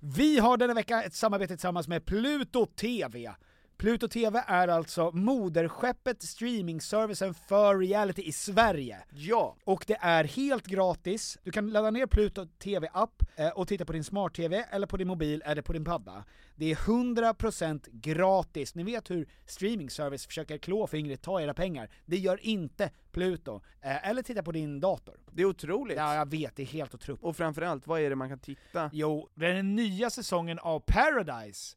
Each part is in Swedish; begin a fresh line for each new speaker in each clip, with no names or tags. Vi har denna vecka ett samarbete tillsammans med Pluto TV. Pluto TV är alltså moderskeppet streamingservicen för reality i Sverige.
Ja!
Och det är helt gratis. Du kan ladda ner Pluto TV-app eh, och titta på din smart-TV, eller på din mobil, eller på din padda. Det är 100% gratis. Ni vet hur streamingservice försöker klå fingret, ta era pengar. Det gör inte Pluto. Eh, eller titta på din dator.
Det är otroligt.
Ja, jag vet, det är helt otroligt.
Och framförallt, vad är det man kan titta?
Jo, den nya säsongen av Paradise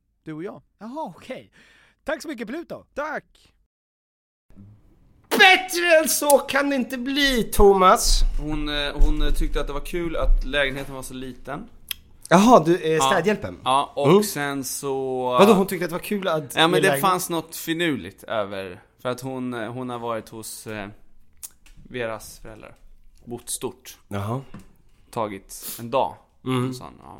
Du och jag.
Jaha, okej. Tack så mycket Pluto!
Tack!
Bättre än så kan det inte bli, Thomas!
Hon, eh, hon eh, tyckte att det var kul att lägenheten var så liten.
Jaha, du, eh, städhjälpen?
Ja, och
Mm.
sen så...
Vadå, hon tyckte att det var kul att...
Ja men det
lägenhet-
fanns något finurligt över, för att hon, eh, hon har varit hos eh, Veras föräldrar. Bott stort.
Jaha. Mm.
Tagit en dag. Och sån, ja.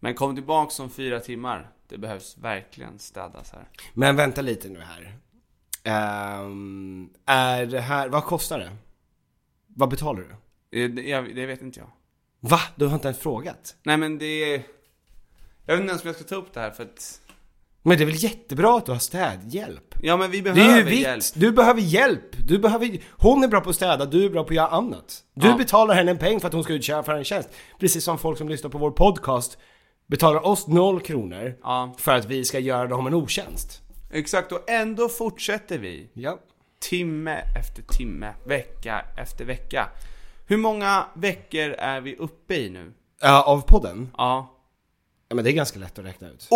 Men kom tillbaks om fyra timmar. Det behövs verkligen städas här.
Men vänta lite nu här. Ehm, är det här, vad kostar det? Vad betalar du?
Eh, Det, jag, det vet inte jag.
Va? Du har inte ens frågat?
Nej men det... är- Jag vet inte ens om jag ska ta upp det här för att...
Men det är väl jättebra att du har städhjälp?
Ja men vi
Det
behöver
är ju
hjälp.
vitt! Du behöver hjälp! Du behöver... Hon är bra på att städa, du är bra på att göra annat. Du
Ja.
betalar henne en peng för att hon ska utföra en tjänst. Precis som folk som lyssnar på vår podcast betalar oss noll kronor
Ja.
för att vi ska göra dem en otjänst.
Exakt, och ändå fortsätter vi.
Ja.
Timme efter timme, vecka efter vecka. Hur många veckor är vi uppe i nu?
Ja, Eh, av podden?
Ja.
Ja men det är ganska lätt att räkna ut.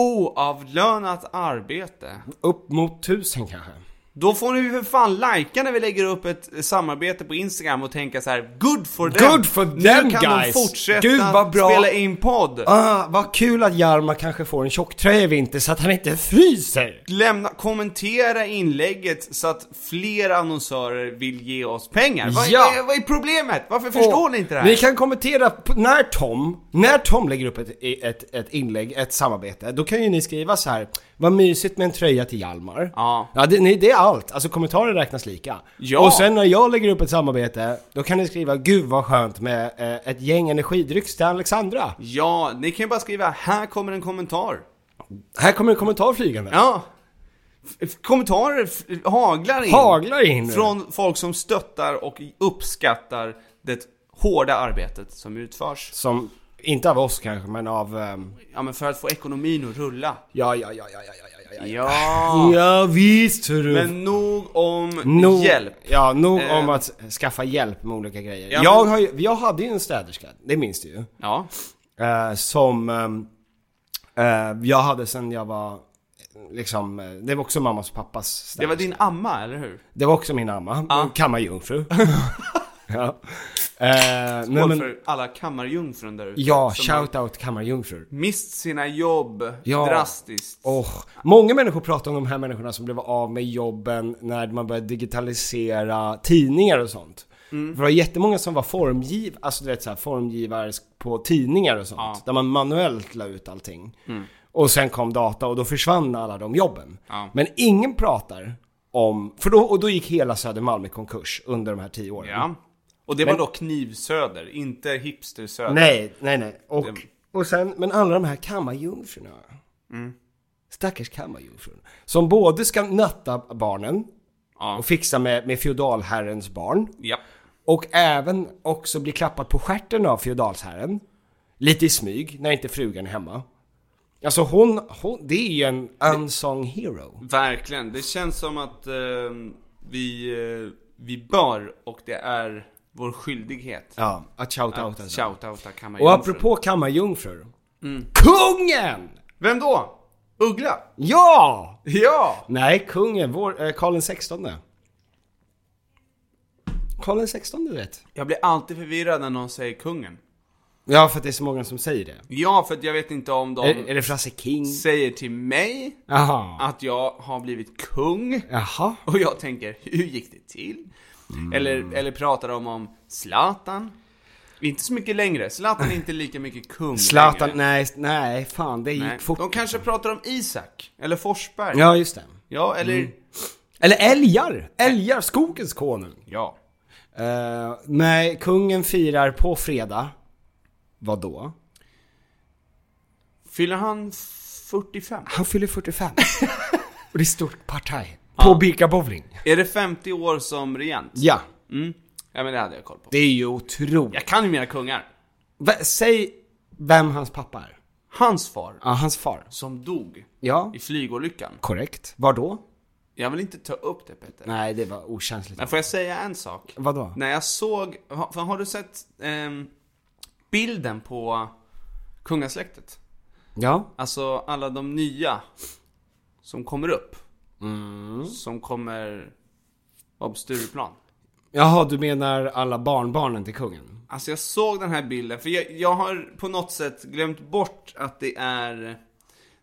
Oavlönat arbete.
Upp mot tusen kanske.
Då får ni ju för fan likea när vi lägger upp ett samarbete på Instagram och tänka så här: Good for them!
Good for them,
Nu kan
guys.
de fortsätta
Gud, vad bra.
spela in podd!
Ah, vad kul att Jarma kanske får en tjocktröja i vinter så att han inte fryser!
Lämna, kommentera inlägget så att fler annonsörer vill ge oss pengar. Vad,
Ja.
vad, vad är problemet? Varför förstår
Och
ni inte det här?
Ni kan kommentera på, när Tom, när Tom lägger upp ett, ett, ett inlägg, ett samarbete, då kan ju ni skriva så här. Vad mysigt med en tröja till Hjalmar.
Ja.
ja det, ni, det är allt, alltså kommentarer räknas lika.
Ja.
Och sen när jag lägger upp ett samarbete, då kan ni skriva Gud vad skönt med eh, ett gäng energidrycks till Alexandra.
Ja, ni kan ju bara skriva 'Här kommer en kommentar'
Här kommer en kommentar flygande.
Ja! F- f- Kommentarer f- haglar in
Haglar in nu.
Från folk som stöttar och uppskattar det hårda arbetet som utförs
Som, inte av oss kanske, men av... ehm,
Ja men för att få ekonomin att rulla
ja, ja, ja, ja, ja, ja, ja, ja,
Ja,
Ja, visst hörru!
men nog om
Nog-
hjälp.
Ja, nog
Eh.
om att skaffa hjälp med olika grejer.
Ja,
jag,
men-
har ju, jag hade ju en städerska, det minns du ju.
Ja,
Eh, som ehm, eh, jag hade sen jag var, eh, liksom, eh, det var också mammas och pappas städerska.
det var din amma, eller hur?
Det var också min amma,
Ja.
kammarjungfru. ja. Eh, nej,
Skål
men,
för alla kammarjungfrun där ute.
ja,
som har
shoutout kammarjungfrur.
Mist sina jobb
Ja.
drastiskt.
Oh, många människor pratar om de här människorna som blev av med jobben när man började digitalisera tidningar och sånt.
Mm.
För det var jättemånga som var formgiv, alltså du vet så här, formgivare på tidningar och sånt.
Ja. Mm.
Där man manuellt la ut allting. Och sen kom data och då försvann alla de jobben.
Ja.
Men ingen pratar om, för då, och då gick hela Södermalm i konkurs under de här tio åren.
Ja. Och det
Men-
var då knivsöder, inte hipstersöder.
Nej, nej, nej. Och,
Det-
och sen, men alla de här kammarjungfrurna.
Mm.
Stackars kammarjungfrun. Som både ska natta barnen
Ja.
och fixa med, med feodalherrens barn.
Ja.
Och även också bli klappad på stjärten av feodalsherren. Lite i smyg, när inte frugan är hemma. Alltså hon, hon det är ju en unsung hero.
Verkligen. Det känns som att eh, vi, eh, vi bör och det är vår skyldighet
Ja, att shout out
att
alltså.
shoutouta
Och
kammarjungfrun.
apropå kammarjungfrur. Kungen!
Vem då? Uggla?
Ja!
Ja!
Nej, kungen, vår, eh, Karl den sextonde. Karl den sextonde du vet.
Jag blir alltid förvirrad när någon säger kungen.
Ja, för att det är så många som säger det.
Ja, för att jag vet inte om de
Är, är det Frasse King?
säger till mig
Jaha.
att jag har blivit kung.
Jaha.
Och jag tänker, hur gick det till?
Mm.
Eller, eller pratar de om Zlatan? Inte så mycket längre, Zlatan är inte lika mycket kung
Zlatan,
längre.
nej, nej, fan det gick
Nej.
fort. alltså.
De kanske pratar om Isak, eller Forsberg.
Ja, Mm. just det.
Ja, eller...
Eller älgar! Älgar, skogens konung.
Ja.
Eh, nej, kungen firar på fredag. Vad då?
Fyller han 45?
Han fyller 45. Och det är stort partaj. På Birka Bowling.
Är det 50 år som regent?
Ja,
Mm. Ja men det hade jag koll på.
det är ju otroligt.
Jag kan ju mina kungar.
Va- Säg vem hans pappa är.
Hans far,
Ja, hans far.
som dog
Ja.
i flygolyckan.
Korrekt. Var då?
Jag vill inte ta upp det Peter.
Nej, det var okänsligt.
Men får jag säga en sak?
Vadå?
När jag såg, ha- för har du sett ehm, bilden på kungasläktet?
Ja.
Alltså alla de nya som kommer upp.
Mm.
Som kommer vara på Stureplan.
Jaha, du menar alla barnbarnen till kungen?
Alltså jag såg den här bilden, för jag, jag har på något sätt glömt bort att det är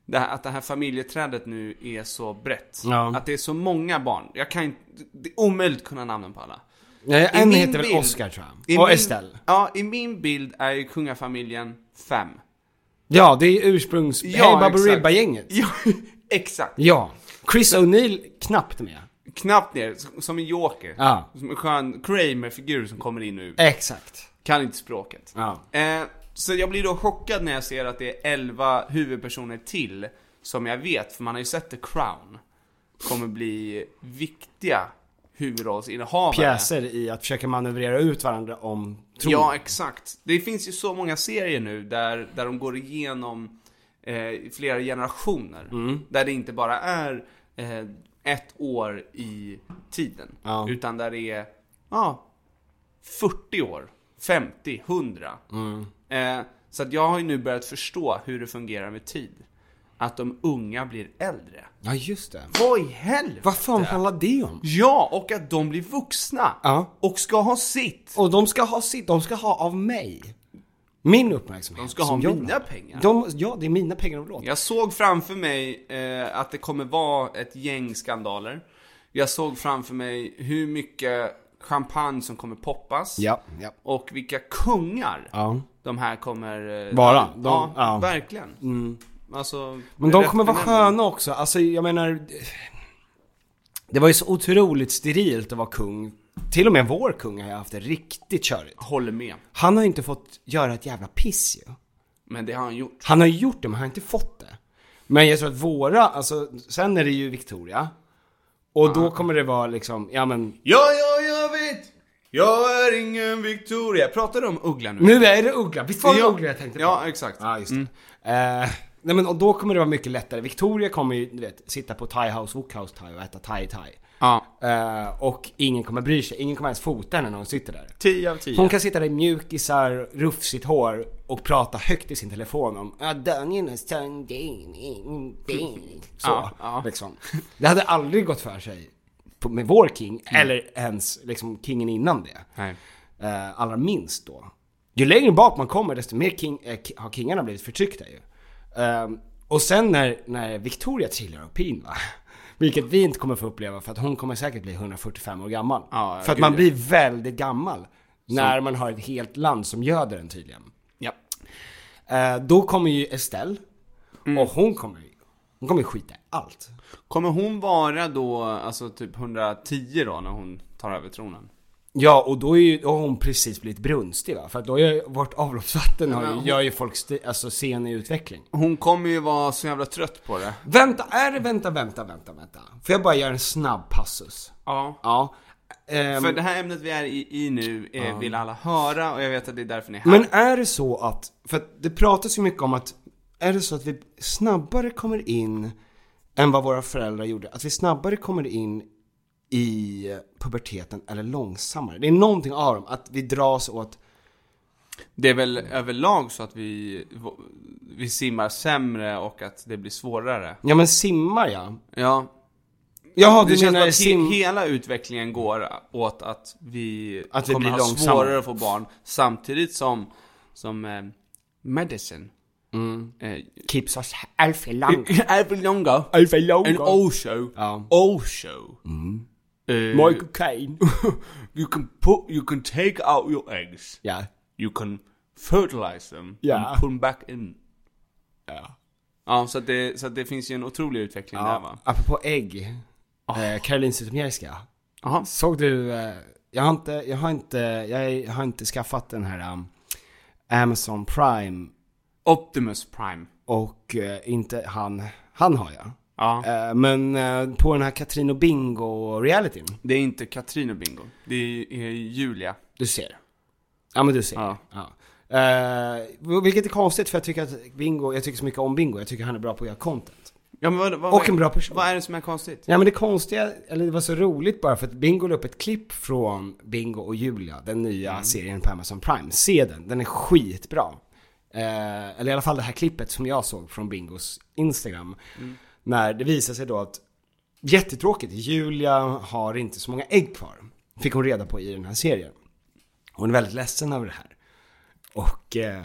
det här, att det här familjeträdet nu är så brett.
Ja.
Att det är så många barn. Jag kan inte, det är omöjligt att kunna namnen på alla.
Nej,
I
en
min
heter väl
bild-
Oscar tror
I
jag. Och
min-
Estelle.
Ja, i min bild är ju kungafamiljen fem.
Ja, det är ursprungs...
Ja,
hey
exakt.
Baberiba-gänget.
Ja, exakt.
Ja. Chris O'Neill knappt med.
Knappt ner, s- som en joker.
Ja.
Som en skön Kramer-figur som kommer in och ut.
Exakt.
Kan inte språket.
Ja.
Eh, så jag blir då chockad när jag ser att det är 11 huvudpersoner till som jag vet, för man har ju sett The Crown, kommer bli viktiga huvudrollsinnehavare.
Pjäser i att försöka manövrera ut varandra om tronen.
Ja, exakt. Det finns ju så många serier nu där, där de går igenom eh, flera generationer. Där det inte bara är eh, ett år i tiden.
Ja.
Utan där det är ja, 40 år, 50, 100. Eh, så att jag har ju nu börjat förstå hur det fungerar med tid. Att de unga blir äldre.
Ja, just det.
Vad i helvete?
Vad fan handlar det om?
Ja, och att de blir vuxna.
Ja.
Och ska ha sitt.
Och de ska ha sitt, de ska ha av mig. Min uppmärksamhet.
De ska ha
som jag
mina
har.
pengar.
De, ja, det är mina pengar de låter.
Jag såg framför mig eh, att det kommer vara ett gäng skandaler. Jag såg framför mig hur mycket champagne som kommer poppas.
Ja, ja.
Och vilka kungar
Ja.
de här kommer... Eh,
Vara. De-
ja,
ja. Mm.
verkligen. Alltså,
Men de kommer vara
rätt benämning.
sköna också, alltså jag menar... Det var ju så otroligt sterilt att vara kung. Till och med vår kung har ju haft det riktigt körigt.
Håller med.
Han har ju inte fått göra ett jävla piss ju.
Men det har han gjort.
Han har ju gjort det, men han har inte fått det. Men jag tror att våra, alltså, sen är det ju Victoria. Och då kommer det vara liksom, ja men...
Ja, ja, jag vet! Jag är ingen Victoria. Pratar du om Uggla nu?
Nu är det Uggla, visst var det
Mm. Ja. mm.
Uggla jag tänkte på?
Ja, exakt.
Ja, just det. Eh, Nej men och då kommer det vara mycket lättare. Victoria kommer ju, du vet, sitta på Thai House, Wookhouse Thai och äta Thai Thai.
Ja.
Eh, och ingen kommer bry sig, ingen kommer ens fota henne när hon sitter där.
10 av 10.
Hon kan sitta där i mjukisar, rufsigt hår och prata högt i sin telefon om "Ah, Daniel och Sundin, ingenting." Så,
Ja, ja.
liksom. Det hade aldrig gått för sig på- med vår king, eller ens liksom kingen innan det.
Nej.
Eh, allra minst då. Ju längre bak man kommer desto mer king, eh, ki- har kingarna blivit förtryckta ju. Ehm, och sen när, när Victoria trillar upp pin va. Vilket vi inte kommer få uppleva för att hon kommer säkert bli 145 år gammal.
Ja,
för att
gud,
man
ja.
blir väldigt gammal. När man har ett helt land som göder en tydligen.
Ja.
Eh, då kommer ju Estelle. Och hon kommer ju, hon kommer ju skita i allt.
Kommer hon vara då, alltså typ 110 då, när hon tar över tronen?
Ja, och då, är ju, då har hon precis blivit brunstig va? För att då är ju- vårt avloppsvatten har ju, gör ju folk sti- alltså, sen i utveckling.
Hon kommer ju vara så jävla trött på det.
Vänta, är det vänta, vänta, vänta, vänta? Får jag bara göra en snabb passus?
Ja.
Ja. Ehm,
För det här ämnet vi är i, i nu eh, vill alla höra och jag vet att det är därför ni är här.
men är det så att, för att det pratas ju mycket om att, är det så att vi snabbare kommer in än vad våra föräldrar gjorde? Att vi snabbare kommer in i puberteten eller långsammare? Det är någonting av dem, att vi dras åt
Det är väl överlag så att vi, vi simmar sämre och att det blir svårare.
Ja men simmar ja.
Ja.
Jaha,
Det
du
känns som
menar
att
sim...
he- hela utvecklingen går åt att vi
Att vi
kommer
blir
ha
långsamma.
svårare att få barn samtidigt som, som eh, medicine. Mm.
Keeps us alfy lång.
Alfred Longo.
Alfy
And
lång.
also,
Ja.
also, eh,
Michael Caine.
you can put, you can take out your eggs.
Ja.
You can fertilize them
Ja.
and put them back in. Ja. Ja, så att det, så att det finns ju en otrolig utveckling där va? Ah.
Apropå ägg. Eh, Caroline Zytomierska.
Aha.
Såg du, eh, jag har inte, jag har inte, jag har inte skaffat den här um, Amazon Prime
Optimus Prime.
och eh, inte han, han har jag.
Ja.
Eh, men eh, på den här Katrin och Bingo-realityn,
Det är inte Katrin och Bingo. Det är, är Julia.
du ser. Ja men du ser.
Ja.
Eh, vilket är konstigt för jag tycker att Bingo, jag tycker så mycket om Bingo, jag tycker han är bra på att göra content.
Ja, men vad, vad,
Och en bra person.
Vad är det som är konstigt?
Ja men det konstiga, eller det var så roligt bara för att Bingo la upp ett klipp från Bingo och Julia, den nya serien på Amazon Prime. Se den, den är skitbra. Eh, eller i alla fall det här klippet som jag såg från Bingos Instagram. När det visar sig då att, jättetråkigt, Julia har inte så många ägg kvar. Fick hon reda på i den här serien. Hon är väldigt ledsen över det här. Och, eh,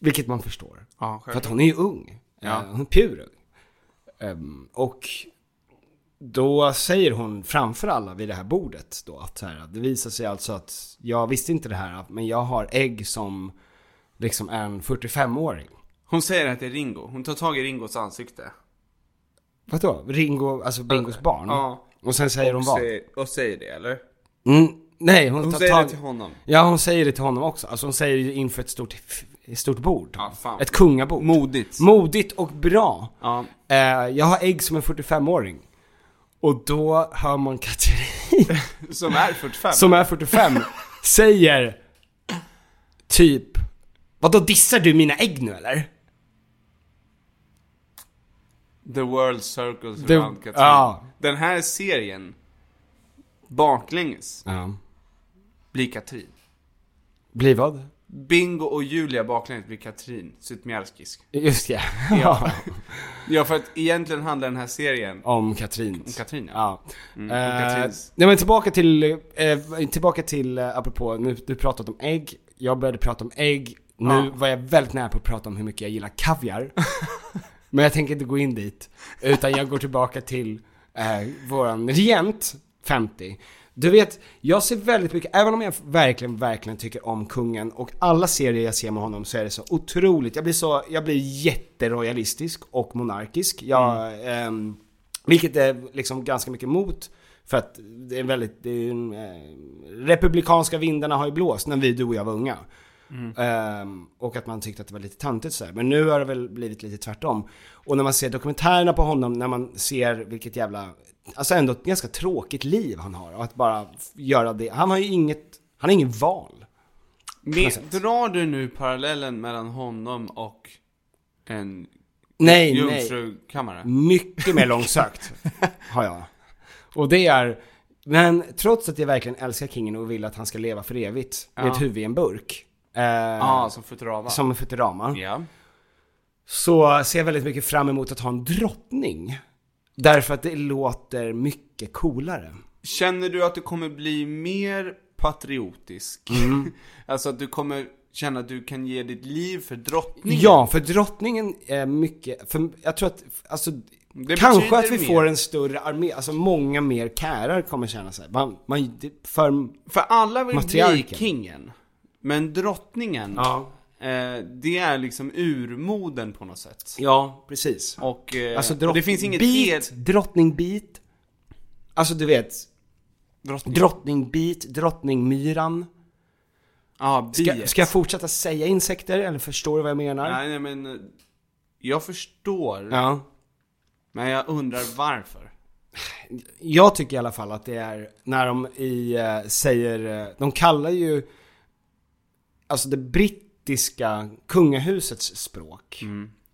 vilket man förstår.
Ja,
För att hon är ju ung.
Ja.
Eh, Hon är purung. Ehm, och då säger hon framför alla vid det här bordet då att så här, att det visar sig alltså att jag visste inte det här men jag har ägg som liksom en 45-åring.
Hon säger att det är Ringo. Hon tar tag i Ringos
Mm.
ansikte.
Vadå? Ringo, alltså Bingos barn?
Ja.
Och sen säger hon
Och
vad?
säger, och säger det, eller?
Mm, nej, hon,
Hon
tar
säger
tag...
det till honom.
Ja, hon säger det till honom också. Alltså hon säger det inför ett stort, ett stort bord.
Ja, fan.
Ett kungabord.
Modigt.
Modigt och bra.
Ja.
Eh, jag har ägg som en 45-åring. Och då hör man Katrin,
Som är 45.
som är 45, säger typ Vadå dissar du mina ägg nu eller?
The world circles
The-
around Katrin.
ja.
Den här serien, baklänges,
Ja.
blir Katrin.
Blir vad?
Bingo och Julia baklänges blir Katrin Zytomierskisk.
Just ja.
Ja. ja, för att egentligen handlar den här serien
Om Katrins.
Om Katrin, Mm,
ja.
om
Eh,
Katrins.
nej men tillbaka till, eh, tillbaka till, eh, apropå, nu, du pratat om ägg, jag började prata om ägg, nu
Ja.
var jag väldigt nära på att prata om hur mycket jag gillar kaviar. men jag tänker inte gå in dit, utan jag går tillbaka till eh, våran regent, 50. Du vet, jag ser väldigt mycket, även om jag verkligen, verkligen tycker om kungen och alla serier jag ser med honom så är det så otroligt, jag blir så, jag blir jätterojalistisk och monarkisk. Jag, ehm, vilket är liksom ganska mycket emot för att det är väldigt, det är, en, eh, republikanska vindarna har ju blåst när vi, du och jag var unga. Ehm, och att man tyckte att det var lite tantigt sådär. Men nu har det väl blivit lite tvärtom. Och när man ser dokumentärerna på honom, när man ser vilket jävla, alltså ändå ett ganska tråkigt liv han har. Och att bara f- göra det, han har ju inget, han har ingen val.
Men, drar du nu parallellen mellan honom och en
Nej, nej.
Jungfrukammare?
Mycket mer långsökt har jag. Och det är, men trots att jag verkligen älskar kingen och vill att han ska leva för evigt med
Ja.
ett huvud i en burk. Eh,
Ja, ah, som Futurama.
Som en Futurama.
Ja.
Så ser jag väldigt mycket fram emot att ha en drottning. Därför att det låter mycket coolare.
Känner du att du kommer bli mer patriotisk?
Mm.
alltså att du kommer känna att du kan ge ditt liv för drottningen?
Ja, för drottningen är mycket, för jag tror att, alltså,
Det
kanske
betyder
att vi
mer.
får en större armé, alltså många mer kärar kommer känna sig. Man, man, det- för,
För alla vill bli
Matriarken.
kingen. Men drottningen, eh, det är liksom urmoden på något sätt.
ja, precis.
Och, eh,
Alltså
och
drott,
det finns inget
bit,
helt...
drottningbit, alltså du vet,
Drottning.
drottningbit, drottningmyran.
ah, biet.
Ska, ska jag fortsätta säga insekter, eller förstår du vad jag menar?
Nej, nej men... eh, Jag förstår,
Ja.
men jag undrar varför.
Jag tycker i alla fall att det är när de i, eh, säger, eh, de kallar ju, alltså det brittiska kungahusets språk,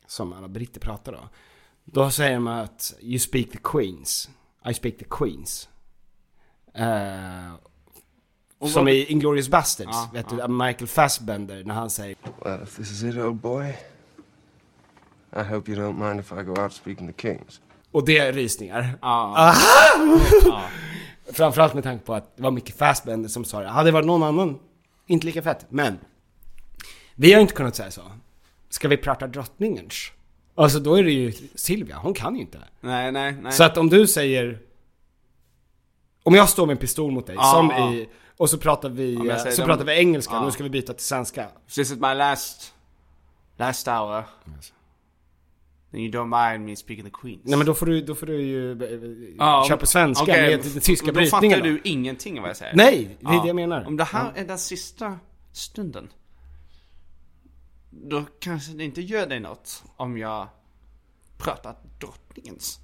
som alla britter pratar då. Då säger man att you speak the Queens, I speak the Queens. Eh, som i Inglourious Basterds, vet du, Michael Fassbender när han säger
Well, if this is it, old boy, I hope you don't mind if I go out speaking to kings.
Och det är rysningar. Ah. Framförallt med tanke på att det var mycket Fassbender som sa det. Hade det varit någon annan, inte lika fett. Men, vi har inte kunnat säga så. Ska vi prata drottningens? Alltså då är det ju Silvia, hon kan ju inte.
Nej, nej, nej.
Så att om du säger... Om jag står med en pistol mot dig,
Ja,
som
ja.
Ah.
i... Och så pratar vi,
Om jag säger
så
de-
pratar vi engelska,
Ja.
nu ska vi byta till svenska.
This is my last... Last hour. Then you don't mind me speaking the Queens.
Nej men då får du, då får du ju eh,
Ja,
köra på svenska
okej.
med den tyska
Då fattar
brytningen då.
du ingenting av vad jag säger.
Nej, det är
Ja.
det jag menar.
Om det här är den sista stunden. Då kanske det inte gör dig något om jag pratar drottningens.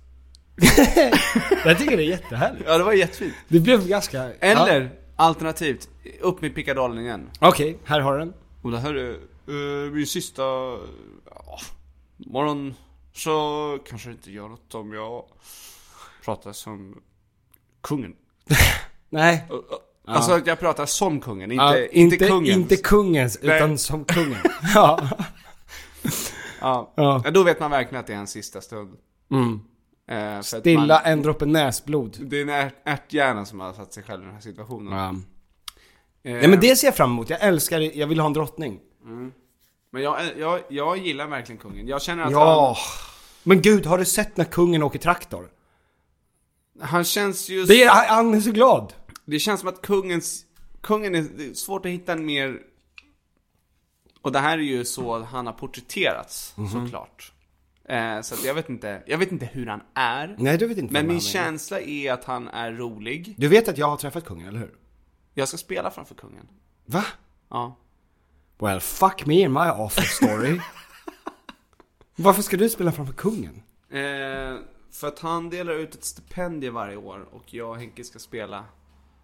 Jag tycker det är jättehärligt.
Ja, det var jättefint.
Det blev ganska...
Eller alternativt, upp med pickadollen igen.
Ja. Okej, här har den.
Och det här är eh, min sista... ja, morgon. Så kanske det inte gör något om jag pratar som kungen.
Nej.
Alltså att jag pratar som kungen, inte,
Ja,
inte, kungen.
Inte kungens,
Nej.
utan som kungen. ja.
ja.
Ja. Mm.
Ja, då vet man verkligen att det är en sista stund. Eh, för att
Stilla
man,
en droppe näsblod.
Det är en ärt, ärthjärna som har satt sig själv i den här situationen.
Ja.
Eh,
Nej men det ser jag fram emot, jag älskar det. jag vill ha en drottning.
men jag, eh, jag, jag gillar verkligen kungen. Jag känner att
Ja. Men gud, har du sett när kungen åker traktor?
han, han känns ju...
Det är, han är så glad!
Det känns som att kungens... Kungen är, det är svårt att hitta en mer... Och det här är ju så han har porträtterats,
Mhm.
såklart. Eh, så att jag vet inte, jag vet inte hur han är.
Nej, du vet inte
men
vem
min
han är.
känsla är att han är rolig.
Du vet att jag har träffat kungen, eller hur?
Jag ska spela framför kungen.
Va?
Ja.
Well, fuck me in my awful story. Varför ska du spela framför kungen?
Eh, för att han delar ut ett stipendium varje år och jag och Henke ska spela,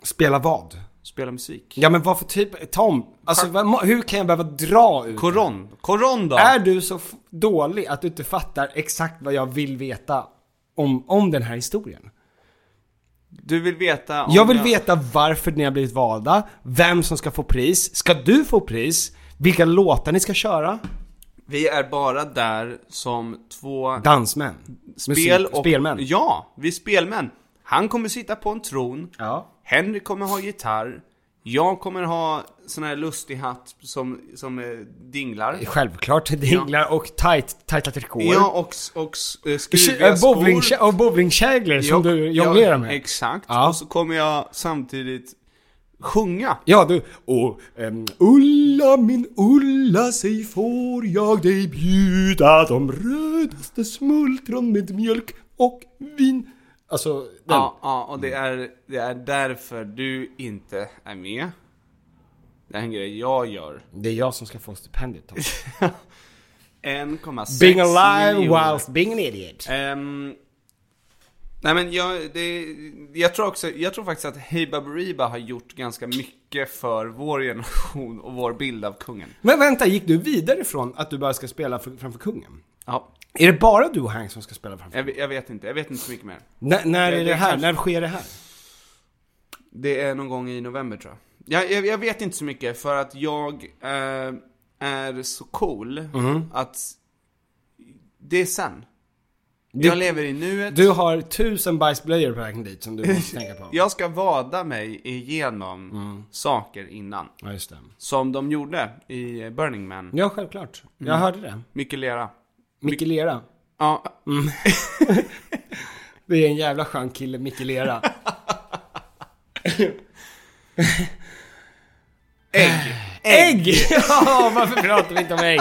Spela vad?
spela musik.
Ja men vad för typ, Tom, alltså vad, hur kan jag behöva dra ut?
Koron! Koron då!
Är du så f- dålig att du inte fattar exakt vad jag vill veta om, om den här historien?
Du vill veta om
Jag vill veta varför ni har blivit valda, vem som ska få pris, ska du få pris, vilka låtar ni ska köra?
Vi är bara där som två
Dansmän.
spel och...
Spelmän.
Ja, vi är spelmän. Han kommer sitta på en tron.
Ja.
Henry kommer ha gitarr. Jag kommer ha sån här lustig hatt som, som eh, dinglar.
Självklart, dinglar och tight, tajta trikåer.
Ja, och, s- och s- eh, skruviga
Kä- bowlingkä- och bowlingkäglor som du jonglerar med.
Exakt.
Ja.
Och så kommer jag samtidigt sjunga.
Ja du, och ehm, Ulla min Ulla, säg får jag dig bjuda de rödaste smultron med mjölk och vin Alltså, den.
Ja, ja och det är, det är därför du inte är med. Det är en grej jag gör.
Det är jag som ska få stipendiet Tom.
1,6
Being alive
miljoner.
whilst being an idiot
Ehm, nej men jag, det, jag tror också, jag tror faktiskt att Hey Baberiba har gjort ganska mycket för vår generation och vår bild av kungen.
Men vänta, gick du vidare från att du bara ska spela för, framför kungen?
Ja,
Är det bara du och Hank som ska spela framför?
jag, ve- jag vet inte. Jag vet inte så mycket mer.
N- när
det-
är
det
det här?
kanske-
När sker det här?
Det är någon gång i november tror jag. Jag, jag, jag vet inte så mycket för att jag eh, är så cool
Mm-hmm.
att det är sen.
Du-
jag lever i nuet.
Du har tusen bajsblöjor på vägen dit som du måste tänka på.
Jag ska vada mig igenom
Mm.
saker innan.
Ja, just det.
Som de gjorde i Burning Man.
Ja, självklart. Jag hörde det.
Mycket lera.
Micke Lera.
Ja,
Det är en jävla skön kille, Micke Lera.
ägg.
Ägg! Ja, varför pratar vi inte om ägg?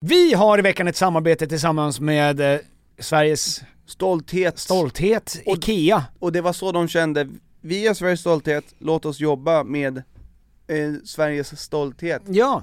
Vi har i veckan ett samarbete tillsammans med eh, Sveriges
Stolthet.
stolthet, IKEA.
Och det var så de kände, vi är Sveriges stolthet, låt oss jobba med eh, Sveriges stolthet.
Ja,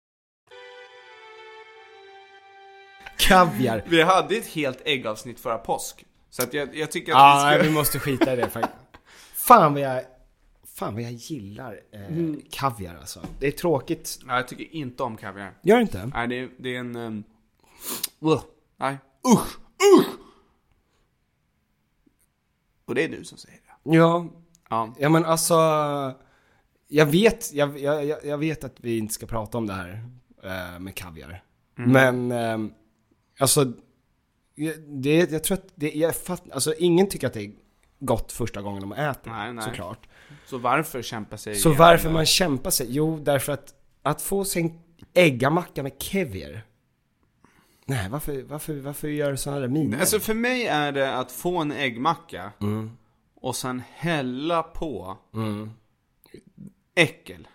Kaviar.
Vi hade ett helt äggavsnitt förra påsk. Så att jag, jag tycker att
Ja, Ah, nej,
vi
vi
ska...
måste skita i det faktiskt. Fan vad jag, fan vad jag gillar eh, kaviar alltså. Det är tråkigt.
Nej, jag tycker inte om kaviar.
Gör det inte?
Nej, det, är- det är en... Um... Ugh. Nej. Usch! Usch! Och det är du som säger det.
Ja,
Ja.
ja men alltså. Jag vet, jag, jag, jag- jag vet att vi inte ska prata om det här eh, med kaviar.
Mm.
Men, eh, alltså. jag- Det, jag tror att, det, jag fatt, alltså ingen tycker att det är gott första gången de äter
Nej, nej.
såklart.
Så varför kämpa sig
Så
igenom
varför
det?
man kämpar sig? Jo, därför att att få sin äggamacka med kevier. Nej, varför, varför, varför gör du sådana där miner?
Alltså för mig är det att få en äggmacka
Mm.
och sen hälla på äckel.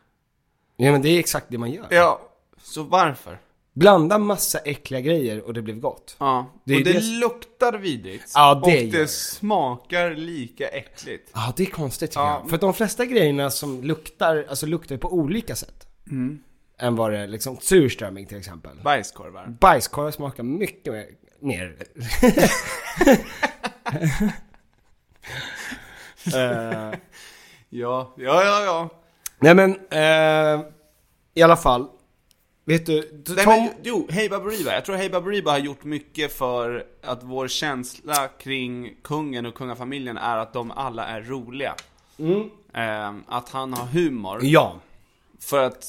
ja, men det är exakt det man gör.
Ja. Så varför?
Blanda massa äckliga grejer och det blev gott.
Ja.
Det är
och det,
det-
luktar vidrigt.
Ja, det
och
gör det.
det smakar lika äckligt.
Ja, det är konstigt tycker
Ja.
jag. För att de flesta grejerna som luktar, alltså luktar ju på olika sätt.
Mm.
Än vad det liksom, surströmming till exempel.
Bajskorvar.
Bajskorvar smakar mycket mer. mer. Eh,
Ja, ja, ja, ja.
Nej men, eh, i alla fall. Vet du, Tom...
Nej, men, jo, Hey Baberiba. Jag tror Hey Baberiba har gjort mycket för att vår känsla kring kungen och kungafamiljen är att de alla är roliga. Ehm, att han har humor.
Ja.
För att...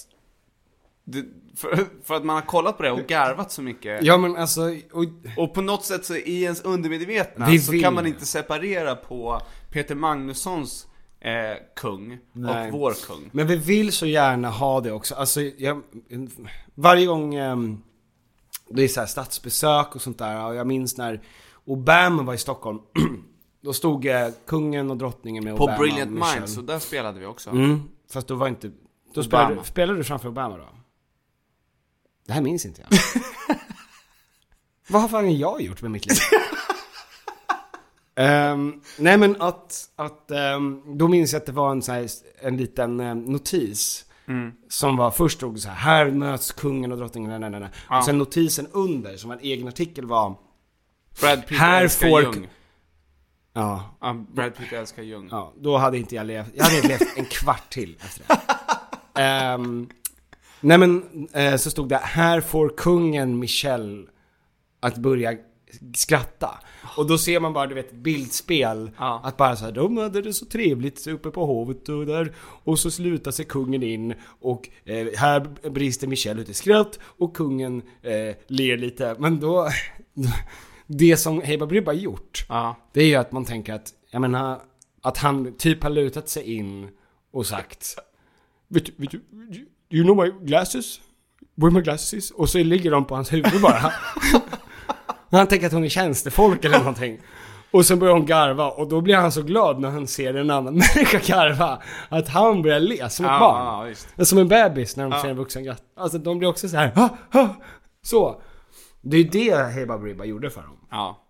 det- För, för att man har kollat på det och garvat så mycket.
Ja men alltså, och,
Och på något sätt så i ens undermedvetna
Vi
så
vill.
kan man inte separera på Peter Magnussons eh, kung
Nej.
och vår kung.
men vi vill så gärna ha det också. Alltså, jag, varje gång ehm, det är så här statsbesök och sånt där, och jag minns när Obama var i Stockholm, då stod eh, kungen och drottningen med
På
Obama och
Brilliant
Michelle.
Minds, så där spelade vi också.
Mm, fast då var inte... Då spelade,
Obama.
spelade du framför Obama då? Det här minns inte jag. Vad har fan jag gjort med mitt liv? Ehm, nej men att, att ehm, då minns jag att det var en, så här, en liten ehm, notis. Som var, först stod det så här, här möts kungen och drottningen, nej, nej, nej, nej. Och sen notisen under, som var en egen artikel var,
Brad Pitt
Här
älskar
får-
Jung.
ja,
Ja, Brad Pitt älskar Jung.
Ja, då hade inte jag levt, jag hade inte levt en kvart till efter det. Ehm, nej men, eh, så stod det här får kungen Michelle att börja skratta. Och då ser man bara, du vet, bildspel.
Ja.
Att bara såhär, de hade det så trevligt uppe på hovet och där. Och så slutar sig kungen in och eh, här brister Michelle ut i skratt och kungen eh, ler lite. Men då, det som Hey Baberiba gjort,
Ja.
det är ju att man tänker att, jag menar, att han typ har lutat sig in och sagt Vet du, vet du, do you know my glasses? Where my glasses is? Och så ligger de på hans huvud bara. Och han tänker att hon är tjänstefolk eller någonting. Och sen börjar hon garva och då blir han så glad när han ser en annan människa garva att han börjar le som ett
Ja,
barn.
ja, visst.
Som en bebis när de ser en vuxen gratta. Alltså de blir också så här. "Ah, ah." Så. Det är ju det Hey Baberiba gjorde för dem.
Ja.